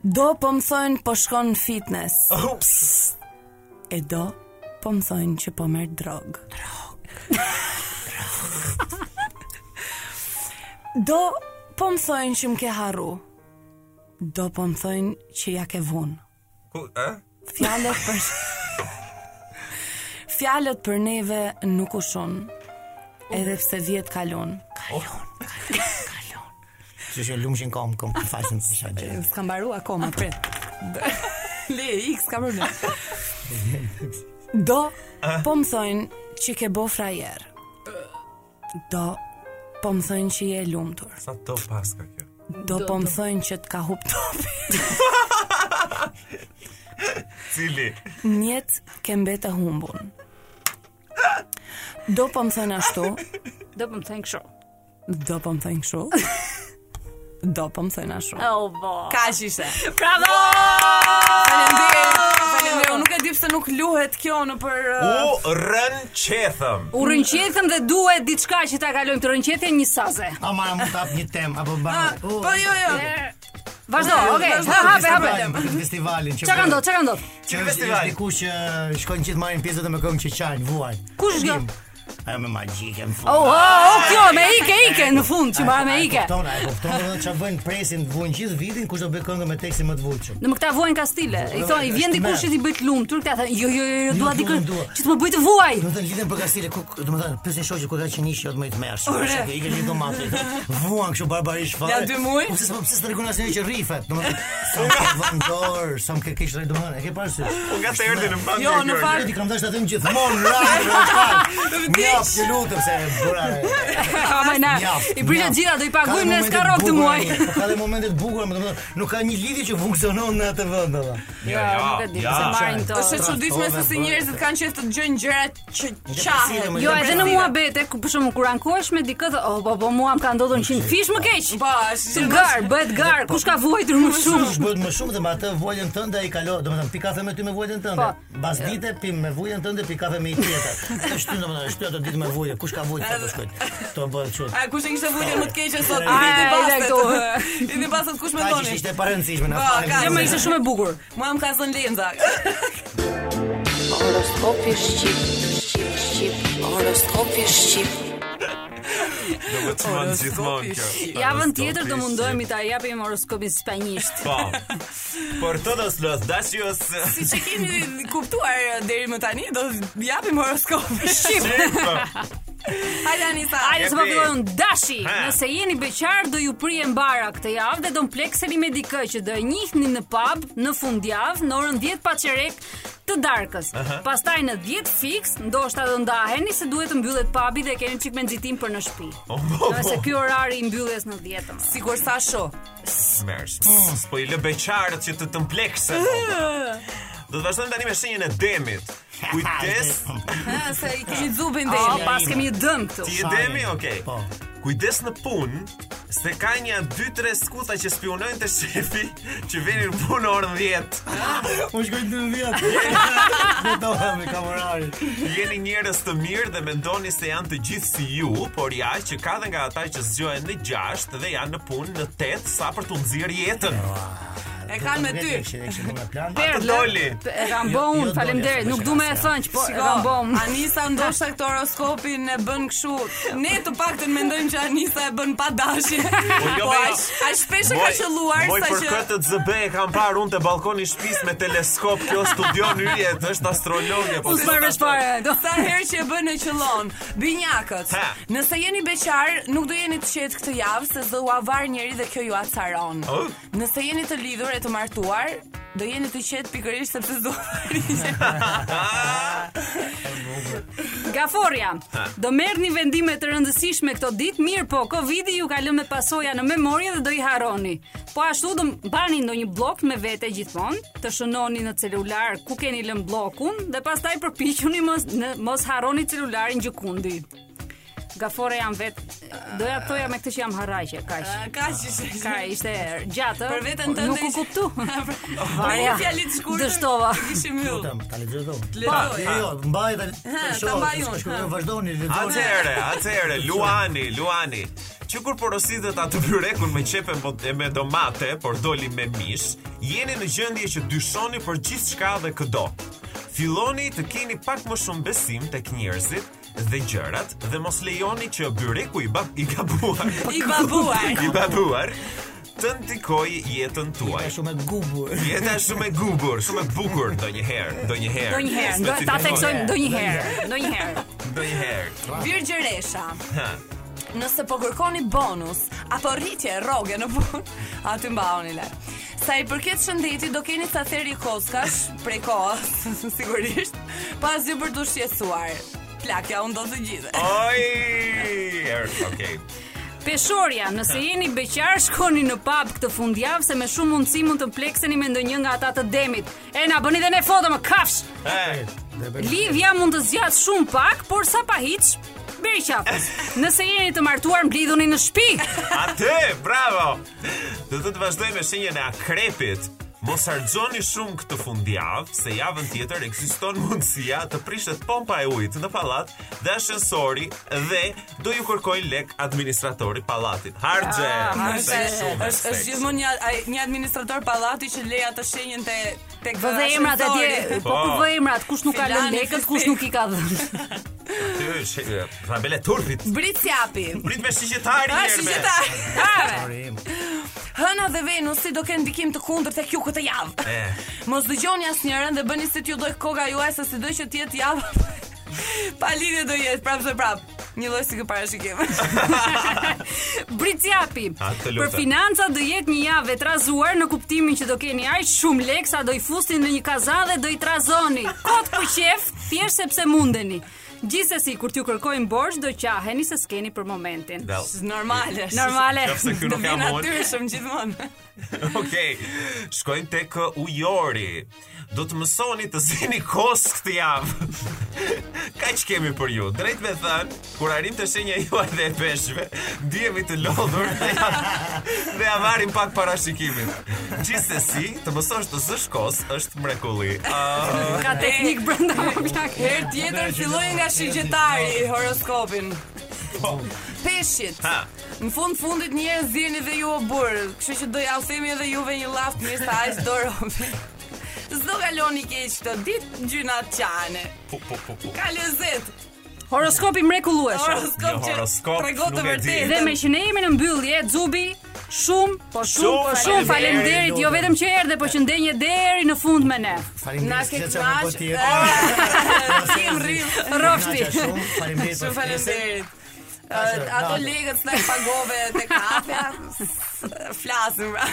Speaker 6: Do po më thënë po shkon në fitness. E do po më thënë që po merr drog. Drog. Do po më thënë që më ke harru. Do po më thënë që ja ke vunë.
Speaker 5: Ku, e?
Speaker 6: Fjalët për Fjalët për neve nuk ushon. Edhe pse vjet kalon.
Speaker 7: Që që lumshin kom, kom, falsin për shaj gjë.
Speaker 6: S'ka mbaruar akoma, prit. Le, x ka problem. Do po më thojnë që ke bo frajer. Do po më thojnë që je e lumtur.
Speaker 5: Sa do paska kjo?
Speaker 6: Do po më thojnë që t'ka hup topi.
Speaker 5: Cili?
Speaker 6: Njet ke mbet e humbun. Do po më thojnë ashtu,
Speaker 4: Do po më thënë kështu.
Speaker 6: Do po më thënë kështu. Do po më thënë ashtu.
Speaker 4: Oh, bo.
Speaker 6: Ka që ishte.
Speaker 4: Bravo!
Speaker 6: Faleminderit. Faleminderit. Unë nuk e di pse nuk luhet kjo në për uh,
Speaker 5: U rën qethëm.
Speaker 4: U rënqetëm dhe duhet diçka që ta kalojmë të rënqetjen një saze.
Speaker 7: Ama më tap një tem apo
Speaker 4: Ah,
Speaker 7: ban.
Speaker 6: Po jo jo.
Speaker 4: Vazhdo, okay.
Speaker 6: vazhdo,
Speaker 4: Ha, hape, hape.
Speaker 7: Festivalin që
Speaker 4: Çka ka ndodhur? Çka ka ndodhur?
Speaker 7: Që festival. Dikush që shkojnë gjithë marrin pjesë dhe me këngë që qajnë, vuajn.
Speaker 4: Kush është kjo?
Speaker 7: Ajo me magjike më
Speaker 4: Oh,
Speaker 7: fund.
Speaker 4: oh, oh, kjo me ike, ike në fund që bëra me ike.
Speaker 7: Kupton, ai kupton domethënë çfarë bën presin të vuajnë gjithë vitin kush do bëj këngë me tekstin më të vulçur.
Speaker 4: Në më këta vuajnë ka stile. I thonë, i vjen
Speaker 7: Është
Speaker 4: dikush që
Speaker 7: merr.
Speaker 4: t'i bëjt lumë, tërë këta thënë, jo, jo, jo, jo, dua
Speaker 7: Jo,
Speaker 4: dikë,
Speaker 7: nuk dua.
Speaker 4: që t'më bëjt vuaj.
Speaker 7: Do të thënë lidhen për kastile, ku domethënë pyesin shoqë ku ka qenë ishi jot më i tmerrsh. Është që i kanë domate. Vuan kështu barbarisht fare.
Speaker 6: Ja, dy muj.
Speaker 7: Pse s'po pse s'tregon asnjë që rrifet, domethënë. Sa më ke vënë dorë, sa më ke keq drejt domethënë. E ke parasysh?
Speaker 5: Unë ka Po të erdhi në bank.
Speaker 6: Jo, në fakt-
Speaker 7: Ti kam dashur ta them gjithmonë rraj, rraj.
Speaker 6: Vdiq.
Speaker 7: Mjaf, ju lutem se bëra.
Speaker 4: Ama na,
Speaker 7: mjaf,
Speaker 4: i prishë
Speaker 7: mjaf.
Speaker 4: gjitha, do i
Speaker 7: Ka dhe
Speaker 4: pagujmë në
Speaker 7: momente
Speaker 4: skarok të
Speaker 7: bukura,
Speaker 4: muaj.
Speaker 7: po Ka dhe momente të bukura, më domethënë, nuk ka një lidhje që funksionon në atë vend valla.
Speaker 4: Ja, nuk e di, se marrin to.
Speaker 6: Është e çuditshme se si njerëzit kanë qenë të gjëjnë gjëra që qahen.
Speaker 4: Jo, edhe në mua bete, ku për shkakun kur ankohesh me dikë, thë, oh, po po mua më ka ndodhur 100 fish më keq.
Speaker 6: Po, është
Speaker 4: Të gar, bëhet gar, kush ka vuajtur më shumë?
Speaker 7: Kush bëhet më shumë dhe me atë vuajën tënde ai kalo, domethënë pi kafe me ty me vuajën tënde.
Speaker 4: Po.
Speaker 7: Mbas dite pim me vuajën tënde pi kafe me i tjetër. Të shty domethënë, shty ato ditë me vujë, kush ka vujë ato shkojnë. To bëhet kështu.
Speaker 6: A kush e kishte vuajtën më të keqe sot?
Speaker 7: Ai,
Speaker 6: Ai
Speaker 4: ai, këtu.
Speaker 6: I di pasat kush
Speaker 7: Ka që
Speaker 6: mendoni?
Speaker 7: ishte e parëndësishme na
Speaker 6: Po, ka,
Speaker 4: Jo,
Speaker 7: falë.
Speaker 4: më ishte shumë e bukur.
Speaker 6: Mua më ka zënë Lenza.
Speaker 1: Horoskopi shqip, shqip, shqip. Horoskopi shqip.
Speaker 5: Do të çmend gjithmonë kjo.
Speaker 4: Javën tjetër do mundohemi ta japim horoskopin spanjisht.
Speaker 5: Po. Por todos los dacios
Speaker 6: Si që
Speaker 5: Po.
Speaker 6: kemi kuptuar deri më tani, do japim horoskopin.
Speaker 5: Shqip.
Speaker 6: Hajde Anisa.
Speaker 4: Hajde se po
Speaker 5: Jepi.
Speaker 4: fillon dashi.
Speaker 5: Ha.
Speaker 4: Nëse jeni beqar do ju prihen bara këtë javë dhe do mplekseni me dikë që do e njihni në pub në fundjavë në orën 10 pa çerek të darkës. Pastaj në 10 fiks, ndoshta do ndaheni se duhet të mbyllet pubi dhe keni çik me nxitim për në shtëpi.
Speaker 5: Po, Oh.
Speaker 4: Nëse ky orari i mbylljes në 10 të mëdha.
Speaker 6: Sigur sa shoh.
Speaker 5: Smers. Po i lë beqarët që të të mplekse. Do të vazhdojmë tani me shenjën e demit. Kujdes,
Speaker 6: Ha, se i kemi zubin dhe
Speaker 4: O,
Speaker 6: jemi.
Speaker 4: Ah, pas kemi dëm këtu.
Speaker 5: ti je demi, okay.
Speaker 7: Po.
Speaker 5: Kujdes në punë, se ka një 2-3 skuta që spionojnë te shefi që vinin në punë orën 10.
Speaker 7: U shkoj në vjet. Betoha me kamerari.
Speaker 5: Jeni njerëz të mirë dhe mendoni se janë të gjithë si ju, por ja që ka dhe nga ata që zgjohen në 6 dhe janë në punë në 8 sa për të nxjerrë jetën.
Speaker 6: E kanë me ty.
Speaker 7: me plan.
Speaker 5: Atë doli.
Speaker 4: E kam
Speaker 7: Jo,
Speaker 4: bo
Speaker 7: jo,
Speaker 4: unë,
Speaker 7: doli,
Speaker 4: faleminderit.
Speaker 7: asë
Speaker 4: Nuk
Speaker 7: më
Speaker 4: du me e
Speaker 7: shkas,
Speaker 4: thënë që po e
Speaker 6: Shiko,
Speaker 4: kam bo unë.
Speaker 6: Jo, Anisa ndoshta këtë horoskopin e bën kështu. Ne të paktën mendojmë që Anisa e bën pa dashje.
Speaker 5: jo,
Speaker 6: po
Speaker 5: jo.
Speaker 6: aq aq shpesh e ka qelluar
Speaker 5: moj
Speaker 6: sa
Speaker 5: për
Speaker 6: që
Speaker 5: këtë ZB e kam parë unë te balkoni i shtëpisë me teleskop, kjo studion yjet, është astrologje, po.
Speaker 4: Unë s'marrë vesh fare. do-
Speaker 6: Sa herë që e bën e qëllon Binjakët
Speaker 5: Ha.
Speaker 6: Nëse jeni beqar Nuk do jeni të qetë këtë javë Se do u avar njeri dhe kjo ju acaron
Speaker 5: Oh.
Speaker 6: Nëse jeni të lidhur e të martuar Do jeni të qetë pikërisht Sepse do avar njeri
Speaker 4: Gaforja, do merrni vendime të rëndësishme këto ditë, mirë po, Covidi ju ka lënë me pasoja në memorie dhe do i harroni. Po ashtu do mbani ndonjë blok me vete gjithmonë, të shënoni në celular ku keni lënë bllokun dhe pastaj përpiquni mos në, mos harroni celularin gjikundi. Gafore jam vetë, doja të thoja me këtë që jam harraqe, kaq.
Speaker 6: Ka që
Speaker 4: Ka ishte gjatë.
Speaker 6: Për veten tënde
Speaker 4: Nuk u
Speaker 6: ishte-
Speaker 4: kuptu.
Speaker 6: Me një
Speaker 4: Varja,
Speaker 6: fjalit shkurtër.
Speaker 4: Dështova.
Speaker 6: Kishim yll.
Speaker 7: Tam, ta lexoj thonë.
Speaker 6: Lexoj.
Speaker 7: Jo, jo, mbaj ta
Speaker 6: ta
Speaker 7: shoh.
Speaker 6: mbaj unë,
Speaker 7: s'ka shkruaj,
Speaker 6: ha.
Speaker 7: Vazhdoni, lexoni.
Speaker 5: Atëre, atëre, Luani, Luani. Që kur porositet atë byrekun me qepe po- e me domate, por doli me mish, jeni në gjendje që dyshoni për gjithë shka dhe këdo. Filoni të keni pak më shumë besim tek njerëzit dhe gjërat dhe mos lejoni që byreku i, bab, i gabuar
Speaker 6: I babuar.
Speaker 5: i babuar të ndikoj jetën tuaj.
Speaker 7: Ka shumë e gubur.
Speaker 5: Jeta është shumë e gubur, shumë e bukur ndonjëherë, ndonjëherë.
Speaker 4: Ndonjëherë, ndo- ta
Speaker 5: Specifikoj.
Speaker 6: Oh,
Speaker 4: theksojmë ndonjëherë, ndonjëherë.
Speaker 5: ndonjëherë.
Speaker 6: Virgjëresha. Nëse po kërkoni bonus apo rritje rroge në punë, aty mbaoni lart. Sa i përket shëndetit, do keni sa theri koskash prej kohës, sigurisht, pas ju për të shqetësuar. Plakja unë do të gjithë.
Speaker 5: Oj! er, Okej.
Speaker 4: Peshorja, nëse jeni beqar, shkoni në pub këtë fundjavë se me shumë mundësi mund të plekseni me ndonjë nga ata të demit. E na bëni dhe ne foto më kafsh.
Speaker 5: Okay.
Speaker 4: Lidhja mund të zgjat shumë pak, por sa pa hiç, bëri qafës. Nëse jeni të martuar, mblidhuni në shtëpi.
Speaker 5: Atë, bravo! Do të të vazhdoj me shenjën e akrepit. Mos harxoni shumë këtë fundjavë, se javën tjetër ekziston mundësia të prishet pompa e ujit në pallat dhe ashensori dhe do ju kërkojnë lek administratori pallatit. Harxhe.
Speaker 6: Është
Speaker 5: Harxhe Ah, shumë.
Speaker 6: Ah, është është gjithmonë një ai- një administrator pallati që leja të shenjën te tek
Speaker 4: Vë dhe emrat atje, po ku
Speaker 5: Po.
Speaker 4: vë emrat, kush nuk ka lënë
Speaker 6: Filani,
Speaker 4: lekët,
Speaker 6: fisti.
Speaker 4: kush nuk i ka dhënë.
Speaker 5: është eh, Rabele turpit.
Speaker 6: Britsjapi.
Speaker 5: Prit me shigjetarin.
Speaker 6: Ah,
Speaker 5: herë me.
Speaker 6: shigjetar.
Speaker 7: Parim.
Speaker 6: Hëna dhe Venusi do kenë ndikim të kundërt tek ju këtë javë.
Speaker 5: Eh.
Speaker 6: Mos dëgjoni asnjërin dhe bëni si t'ju doj koka juaj se si do që t'jetë javë. pa lidhje do jetë prapë se prapë. Një lloj si kë parashikim.
Speaker 4: Bricjapi.
Speaker 5: A, të lutem.
Speaker 4: Për financa do jetë një javë e trazuar në kuptimin që do keni aq shumë lekë sa do i fustin në një kaza dhe do i trazoni. Kot ku qef, thjesht sepse mundeni. Gjithsesi, kur t'ju kërkojnë borxh do qaheni se s'keni për momentin.
Speaker 5: Well,
Speaker 6: Normale.
Speaker 4: Normale.
Speaker 5: Qofse ky
Speaker 6: Do
Speaker 5: nuk
Speaker 6: vjen
Speaker 5: jam unë.
Speaker 6: natyrshëm gjithmonë.
Speaker 5: Okej, shkojmë tek uh, ujori. Do të mësoni të zini kos këtë javë. Kaq kemi për ju. Drejt me thënë, kur arrim të shenja juaj dhe e peshëve, ndihemi të lodhur dhe ja, dhe ja marrim pak parashikimin. Gjithsesi, të mësosh të zësh kos është mrekulli. Ah,
Speaker 4: Ka teknik brenda më plak.
Speaker 6: Herë tjetër filloj nga shigjetari horoskopin. Peshqit.
Speaker 5: Po. Ha.
Speaker 6: Në fund fundit njerëz zini dhe ju o burë, kështu që do ja u themi edhe juve një laft mirë sa aq do robi. S'do kaloni keq këtë ditë gjynat qane.
Speaker 5: po, po, po, po.
Speaker 6: Ka lezet.
Speaker 4: Horoskopi mrekullueshëm.
Speaker 6: Horoskop
Speaker 5: Jo,
Speaker 6: që
Speaker 5: horoskop,
Speaker 6: tregon të
Speaker 5: nuk e di.
Speaker 6: vërtetë.
Speaker 4: Dhe me që ne jemi në mbyllje, Zubi, Shumë, po shumë,
Speaker 5: Shumë
Speaker 4: shumë
Speaker 5: faleminderit,
Speaker 4: faleminderit, jo
Speaker 7: lutem.
Speaker 4: vetëm që erdhe, por që ndenje deri në fund me ne.
Speaker 7: Faleminderit.
Speaker 6: Na ke
Speaker 7: që që më
Speaker 6: knash.
Speaker 7: bë tjetër.
Speaker 6: Si rrim.
Speaker 4: Rrofti.
Speaker 7: Knaqa shumë, Faleminderit. për
Speaker 6: Shumë faleminderit.
Speaker 7: Ka qenë,
Speaker 6: Uh, ato
Speaker 7: bravo.
Speaker 6: legët s'na i pagove te kafja. s- Flasim. pra.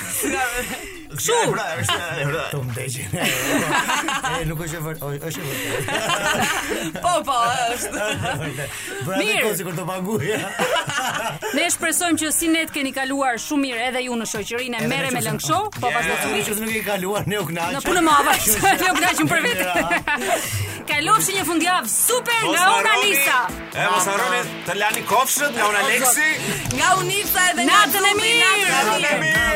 Speaker 5: Shumë. Pra, është
Speaker 7: Të mdegjen. E nuk është e vërtetë, o, është e vërtetë.
Speaker 6: Po, po, është.
Speaker 7: Bëra
Speaker 4: Mirë.
Speaker 7: të kosi kur të paguaj.
Speaker 4: Ne shpresojmë që si ne të keni kaluar shumë mirë edhe ju në shoqërinë e
Speaker 7: Edhe
Speaker 4: Merre
Speaker 7: në
Speaker 4: me
Speaker 7: shoqërinë.
Speaker 4: Lëngshow, po pastaj
Speaker 7: Që nuk e kaluar ne u knaqëm.
Speaker 4: Në punë mava, jo knaqim për vete. Kalofshi një fundjavë super nga Ona Nisa.
Speaker 5: E mos harroni të lani kofshët nga Ona Lexi.
Speaker 6: Nga Unisa edhe nga
Speaker 4: Natën e
Speaker 6: Zumi,
Speaker 4: mirë.
Speaker 6: natën e mirë.